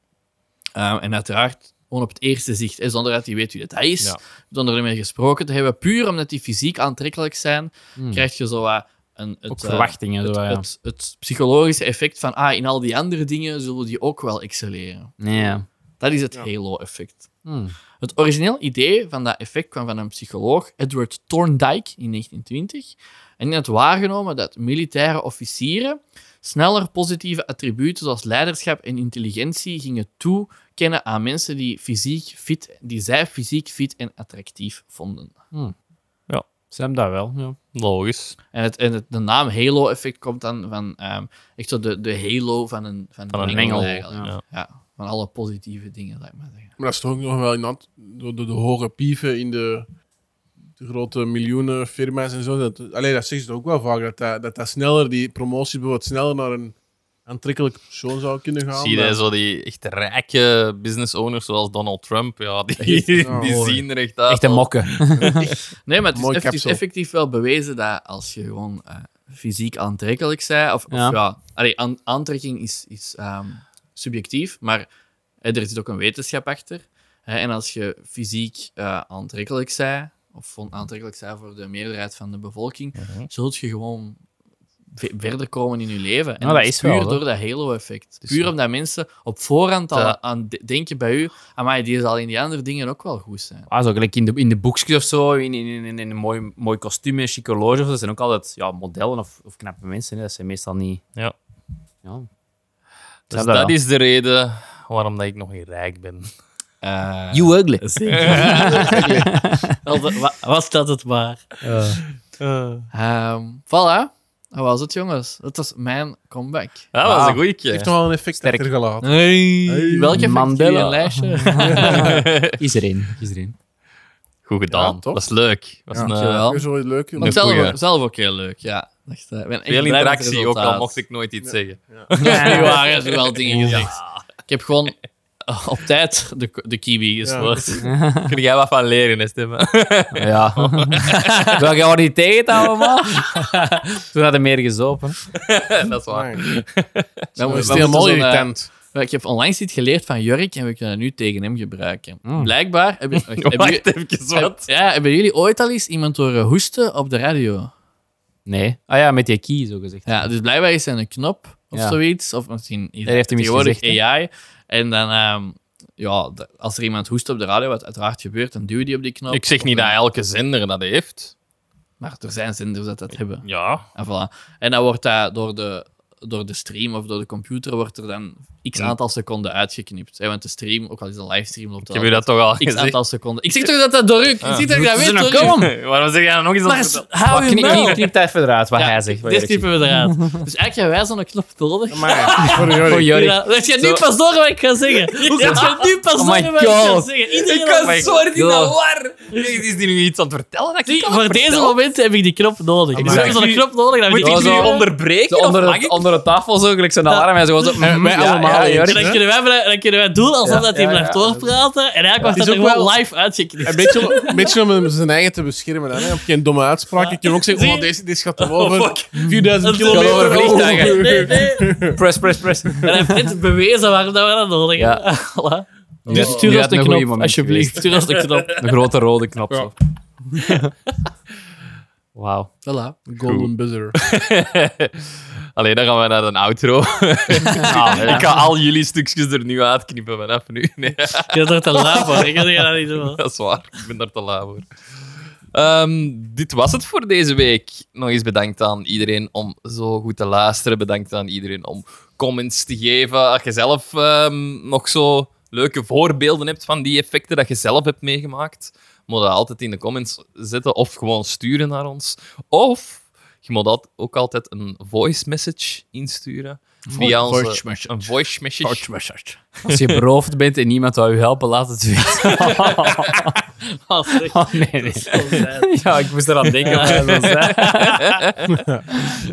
C: Ehm, en uiteraard gewoon op het eerste zicht, hè, zonder dat hij weet wie dat hij is,
A: Ja.
C: zonder ermee gesproken te hebben, puur omdat die fysiek aantrekkelijk zijn, krijg je zo wat een... Het,
D: Ook
C: eh,
D: verwachtingen.
C: het,
D: zo, ja.
C: het, het psychologische effect van, ah, in al die andere dingen zullen die ook wel excelleren.
D: ja.
C: Dat is het
B: Ja.
C: Halo-effect.
D: Hmm.
C: Het origineel idee van dat effect kwam van een psycholoog, Edward Thorndike, in 1920. En die had waargenomen dat militaire officieren sneller positieve attributen zoals leiderschap en intelligentie gingen toekennen aan mensen die, fysiek fit, die zij fysiek fit en attractief vonden.
D: Sam, dat wel. Ja.
A: Logisch.
C: En, het, en het- de naam Halo-effect komt dan van ehm, echt zo de, de halo van een, van
A: Van een
D: engel,
C: eigenlijk.
A: ja.
C: Ja. van alle positieve dingen, laat ik maar zeggen.
B: Maar dat is toch ook nog wel in hand- door de, de hoge pieven in de, de grote miljoenen firma's en zo. Dat, allee, dat zeggen ze ook wel vaak. Dat dat, dat dat sneller, die promotie bijvoorbeeld sneller naar een aantrekkelijke persoon zou kunnen gaan.
A: Zie
B: dan-
A: je zo die echt rijke business owners zoals Donald Trump? Ja, die,
B: Ja,
A: die
B: hoor.
A: zien er echt uit.
D: Echt een
A: als-
D: mokken.
C: Nee, maar het is,
B: Mooi
C: eff- het is
B: kapsel.
C: effectief wel bewezen dat als je gewoon eh, fysiek aantrekkelijk bent, of ja,
D: Ja.
C: of, ja allee, aan- aantrekking is, is ehm, subjectief, maar eh, er zit ook een wetenschap achter. Hè, en als je fysiek eh, aantrekkelijk bent, of gewoon aantrekkelijk bent voor de meerderheid van de bevolking,
D: Mhm.
C: zult je gewoon ve- verder komen in je leven. En
D: Nou, dat is
C: puur
D: wel, hè.
C: door dat halo-effect. Puur omdat mensen op voorhand al
A: Ja.
C: aan de- denken bij u, amai, die zal in die andere dingen ook wel goed zijn.
D: Ah, zo gelijk in de, in de boekjes of zo, in, in, in, in een mooi, mooi kostuum, een chique horloge of zo. Dat zijn ook altijd ja, modellen of, of knappe mensen. Hè. Dat zijn meestal niet...
A: Ja.
D: ja.
A: Dus
D: Snap dat
A: dat
D: wel.
A: is de reden waarom dat ik nog niet rijk ben.
C: Eh,
D: You ugly.
C: was dat het maar. Ehm, voilà. Dat was het, jongens. Dat was mijn comeback.
A: Ja, dat was
D: Wauw.
A: een goeie
B: heeft
A: keer.
B: nog wel een effect
D: Sterk.
B: achtergelaten.
C: Hey. Welke
D: Mandela.
C: Mandela. een lijstje?
D: Is er één. Is er één.
A: Goed gedaan.
B: Ja, toch?
A: dat is leuk. Dat is
B: Ja.
A: een, eh,
C: Dankjewel.
B: Dat is wel leuk.
C: Vond ik
A: Een
C: zelf,
A: goeie.
C: ook- zelf ook heel leuk, ja. Echt, eh, ik ben echt
A: veel
C: blij met het
A: interactie, ook al
C: resultaat.
A: mocht ik nooit iets zeggen.
C: Dat is niet waar, er zijn wel dingen gezegd. Ik heb gewoon eh, op tijd de, de kiwi gesmoord.
A: Kun jij wat van leren, hè, Steven?
D: Ja. Wil je gewoon niet tegen het houden, man? Toen hadden meer gezopen.
A: dat is waar.
C: Dan
B: Dat is
C: moeten we
B: helemaal
C: zo'n, eh,
B: irritant.
C: Maar Ik heb onlangs iets geleerd van Jurk en we kunnen dat nu tegen hem gebruiken. Blijkbaar hebben, wacht, hebben jullie-
A: Mm. Wacht even, wat?
C: Ja, hebben jullie ooit al eens iemand horen hoesten op de radio?
D: Nee. Ah ja, met die key, zo gezegd.
C: Ja, dus blijkbaar is er een knop of
D: Ja.
C: zoiets. Of misschien
D: Daar heeft hem iets
C: tegenwoordig
D: gezegd, hè?
C: AI. En dan, ehm, ja, d- als er iemand hoest op de radio, wat uiteraard gebeurt, dan duw je die op die knop.
A: Ik zeg niet
C: Of
A: dat
C: dan-
A: elke zender dat heeft.
C: Maar er zijn zenders dat dat hebben.
A: Ja.
C: En, voilà. en dan wordt dat door de, door de stream of door de computer wordt er dan x aantal seconden uitgeknipt. Hè, want de stream, ook al is het een livestream, loopt
A: Ik heb je dat toch al
C: x
A: gezegd?
C: aantal seconden. Ik zeg toch dat dat door u... Ik zie dat ik dat
D: Doet
C: weet,
D: ze nou
C: door u.
D: komen?
A: Waarom zeg jij dan nog eens
C: Maar
A: dat?
C: s- hou je
D: Knip,
C: mouw.
D: knip, knip dat even eruit, wat hij zegt. wat
C: Dit
D: Erik zegt.
C: knippen we eruit. Dus eigenlijk hebben wij zo'n knop nodig.
B: Maar voor
D: Voor
B: Jorik.
D: Jorik.
C: Ja, dat je nu pas door wat ik ga zeggen. Hoe kan je nu pas
D: Oh
C: door
D: my
C: wat ik ga
D: God.
C: zeggen? Iedereen
A: Ik
D: Oh
C: had-
A: was zo hard in de
D: Ja.
A: war. Is die nu iets aan het vertellen? Dat ik
C: Die-
A: niet aan
C: voor
A: het
C: deze
A: vertellen?
C: momenten heb ik die knop nodig. Ik
B: Amai.
C: heb zo'n knop nodig. dat we
A: Moet
C: die
A: ik
C: knop
A: nu
C: hebben.
A: onderbreken?
D: Zo
A: of
D: onder,
A: mag
D: het,
A: ik?
D: onder het tafel zo, gelijk zo'n alarm. En zo, zo, mm,
B: Wij
D: ja,
B: allemaal
D: ja,
B: eens,
D: Jorik.
C: En dan kunnen wij, blijven- dan kunnen wij doen alsof dat hij
D: ja,
C: blijft
D: ja.
C: doorpraten. En eigenlijk wordt
B: is
C: dat er
B: ook
C: gewoon
B: wel-
C: live uitgeknipt.
B: Een beetje, om- een beetje om hem zijn eigen te beschermen. Dan, hè. Op geen domme uitspraak. Ik kan ook zeggen:
C: Zie
B: oh,
C: je?
B: deze, deze gaat erover. over. 4000
C: Dat is-
B: kilometer
D: over vliegtuigen.
C: Nee, nee.
D: Press, press, press.
C: En hij heeft net bewezen waarom dat we dat nodig
D: Ja.
C: hebben. Voilà.
D: Dus
C: Oh.
D: stuur
C: Ja,
D: ons de
C: een goeie
D: knop,
C: moment
D: alsjeblieft.
C: geweest.
D: Stuur ons de knop. Een grote rode knop.
B: Ja.
D: zo. Wauw.
C: Voilà.
B: Golden Buzzer.
A: Allee, dan gaan we naar een outro.
D: Ah,
A: Ik ga al jullie stukjes er nu uitknippen vanaf nu. Nee,
C: Je hebt er te laat voor. Ik ga dat niet doen.
A: dat is waar. Ik ben daar te lui voor. Ehm, dit was het voor deze week. Nog eens bedankt aan iedereen om zo goed te luisteren. Bedankt aan iedereen om comments te geven. Als je zelf ehm, nog zo leuke voorbeelden hebt van die effecten dat je zelf hebt meegemaakt, moet je dat altijd in de comments zetten of gewoon sturen naar ons. Of je moet dat ook altijd een voice message insturen. Via onze,
C: voice message.
A: Een voice message.
D: Als je beroofd bent en niemand wil je helpen, laat het weten. Oh, nee, nee. Ja, ik moest eraan denken. maar dat is-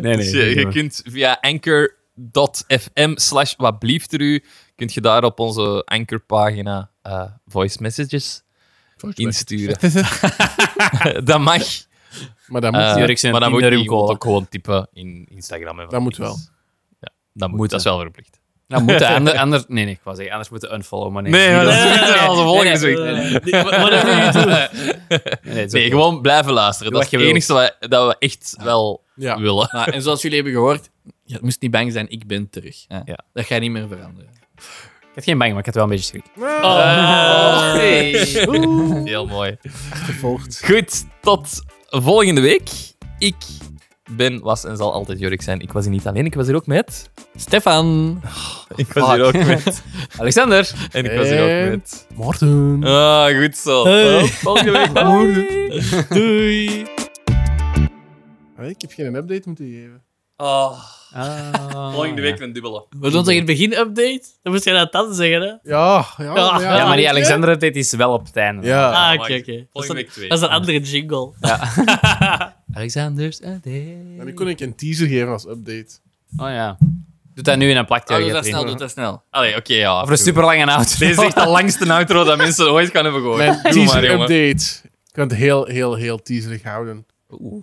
D: nee, nee.
A: Dus je, je kunt via anchor.fm slash wat blieft er u, kunt je daar op onze anchorpagina eh voice messages insturen. dat mag.
B: maar dat moet
A: Eh,
B: niet.
D: Jurk zijn
A: maar dan moet je
D: Tinder
A: die gewoon
D: cola.
A: ook gewoon typen in Instagram. en wat
B: Dat moet
A: is.
B: wel.
A: Ja, dat moet.
D: Moet,
A: dat is wel verplicht.
D: Nou, moeten ander, ander, nee, nee, ik wou zeggen, anders moeten unfollow, maar nee.
A: Nee, maar
D: niet
A: dat
D: doen.
A: is niet onze volgende
D: nee,
A: zoiets.
C: Whatever you do.
D: Nee, nee, het is
A: Nee,
D: ook-
A: gewoon blijven luisteren.
D: Doe
A: Dat is
D: wat
A: het
D: je
A: enige wat- dat we echt wel
B: Ja.
A: willen.
C: Nou, en zoals jullie hebben gehoord, je moest niet bang zijn, ik ben terug. hè.
D: Ja.
C: Dat gaat niet meer veranderen.
D: Ik had geen bang, maar ik had wel een beetje schrik.
A: Oh, nee. Heel mooi.
B: Gevolgd.
A: Goed, tot volgende week. Ik ben, was en zal altijd Jorik zijn. Ik was hier niet alleen, ik was hier ook met.
C: Stefan.
A: Ik was hier ook met.
D: Alexander!
A: En ik was hier ook
B: En-
A: met.
B: Morten.
A: Ah, goed zo.
C: Hey.
A: Tot volgende week. Bye.
C: Doei.
B: Ah, Ik heb geen update moeten geven.
A: Ah,
D: Volgende week.
A: een dubbele.
C: We doen toch in het begin update? Dan moest je dat dan zeggen, hè?
B: Ja, ja,
C: Ja.
B: ja.
D: Ja, maar die Alexander, dit is wel op het einde.
B: Ah. Ja.
C: Ah, oké,
A: wacht.
C: oké. Dat is
A: Volgende
C: een-
A: week twee.
C: Dat is een andere jingle.
D: Alexander's
B: En
D: update.
B: nu kon ik een teaser geven als update.
D: Oh ja. Doe dat nu en dan plakt hij
C: Oh,
D: er
C: doe dat
D: erin.
C: snel, doe dat snel.
A: Allee, oké, ja.
D: Over een super lange auto.
A: Dit is echt de langste outro dat mensen ooit gaan hebben gehoord.
B: Mijn
A: Doe maar, jongen.
B: teaser-update. Ik kan het heel, heel, heel teaserig houden.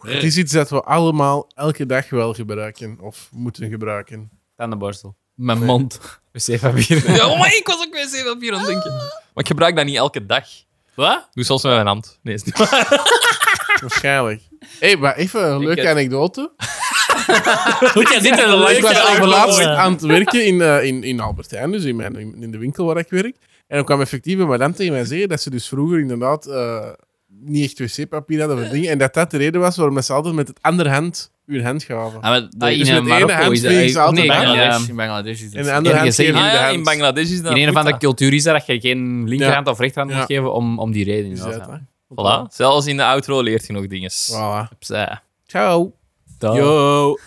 B: Het is iets dat we allemaal elke dag wel gebruiken. Of moeten gebruiken.
D: Aan de borstel.
C: Mijn mond.
D: Wc-papier.
A: Ja, oh, maar ik was ook weer 7 op hier aan het
C: Ah.
A: denken. Maar ik gebruik dat niet elke dag.
C: Wat?
A: Doe soms met mijn hand. Nee, is
C: Ah,
A: niet waar.
B: Waarschijnlijk. Hé, hey, maar even een leuke
A: heb-
B: anekdote.
C: Hoe kan dit een
B: Ik was
C: leuke
B: overlaatst
C: ambulance?
B: aan het werken in, eh, in, in Albertijn, dus in, mijn, in de winkel waar ik werk. En dan kwam effectief een madame tegen mij zeggen dat ze dus vroeger inderdaad eh, niet echt wc-papier hadden of dingen. En dat dat de reden was waarom ze altijd met het andere hand hun hand gaven.
D: Ah, maar
B: Dus
D: in
B: met
D: eh,
B: de ene
D: Marokko
B: hand
D: is dat...
B: vegen ze
D: Nee,
B: altijd
D: in,
B: aan.
D: eh,
C: In Bangladesh is
B: En
C: het.
B: de andere
D: Ja,
B: hand
D: je
B: geven hun
D: zegt-
A: Ah,
B: de
A: ja,
B: hand.
A: in Bangladesh is dat
D: in een of
A: goed,
D: andere
A: dat.
D: cultuur is dat, dat je geen linkerhand of rechterhand
B: Ja.
D: moet geven om, om die reden.
B: Dus
D: inderdaad,
B: dat,
D: ja.
B: hè.
A: Voilà. Zelfs in de outro leert je nog dingen.
B: Voilà.
D: Opzij.
B: Ciao.
D: Dag.
B: Yo.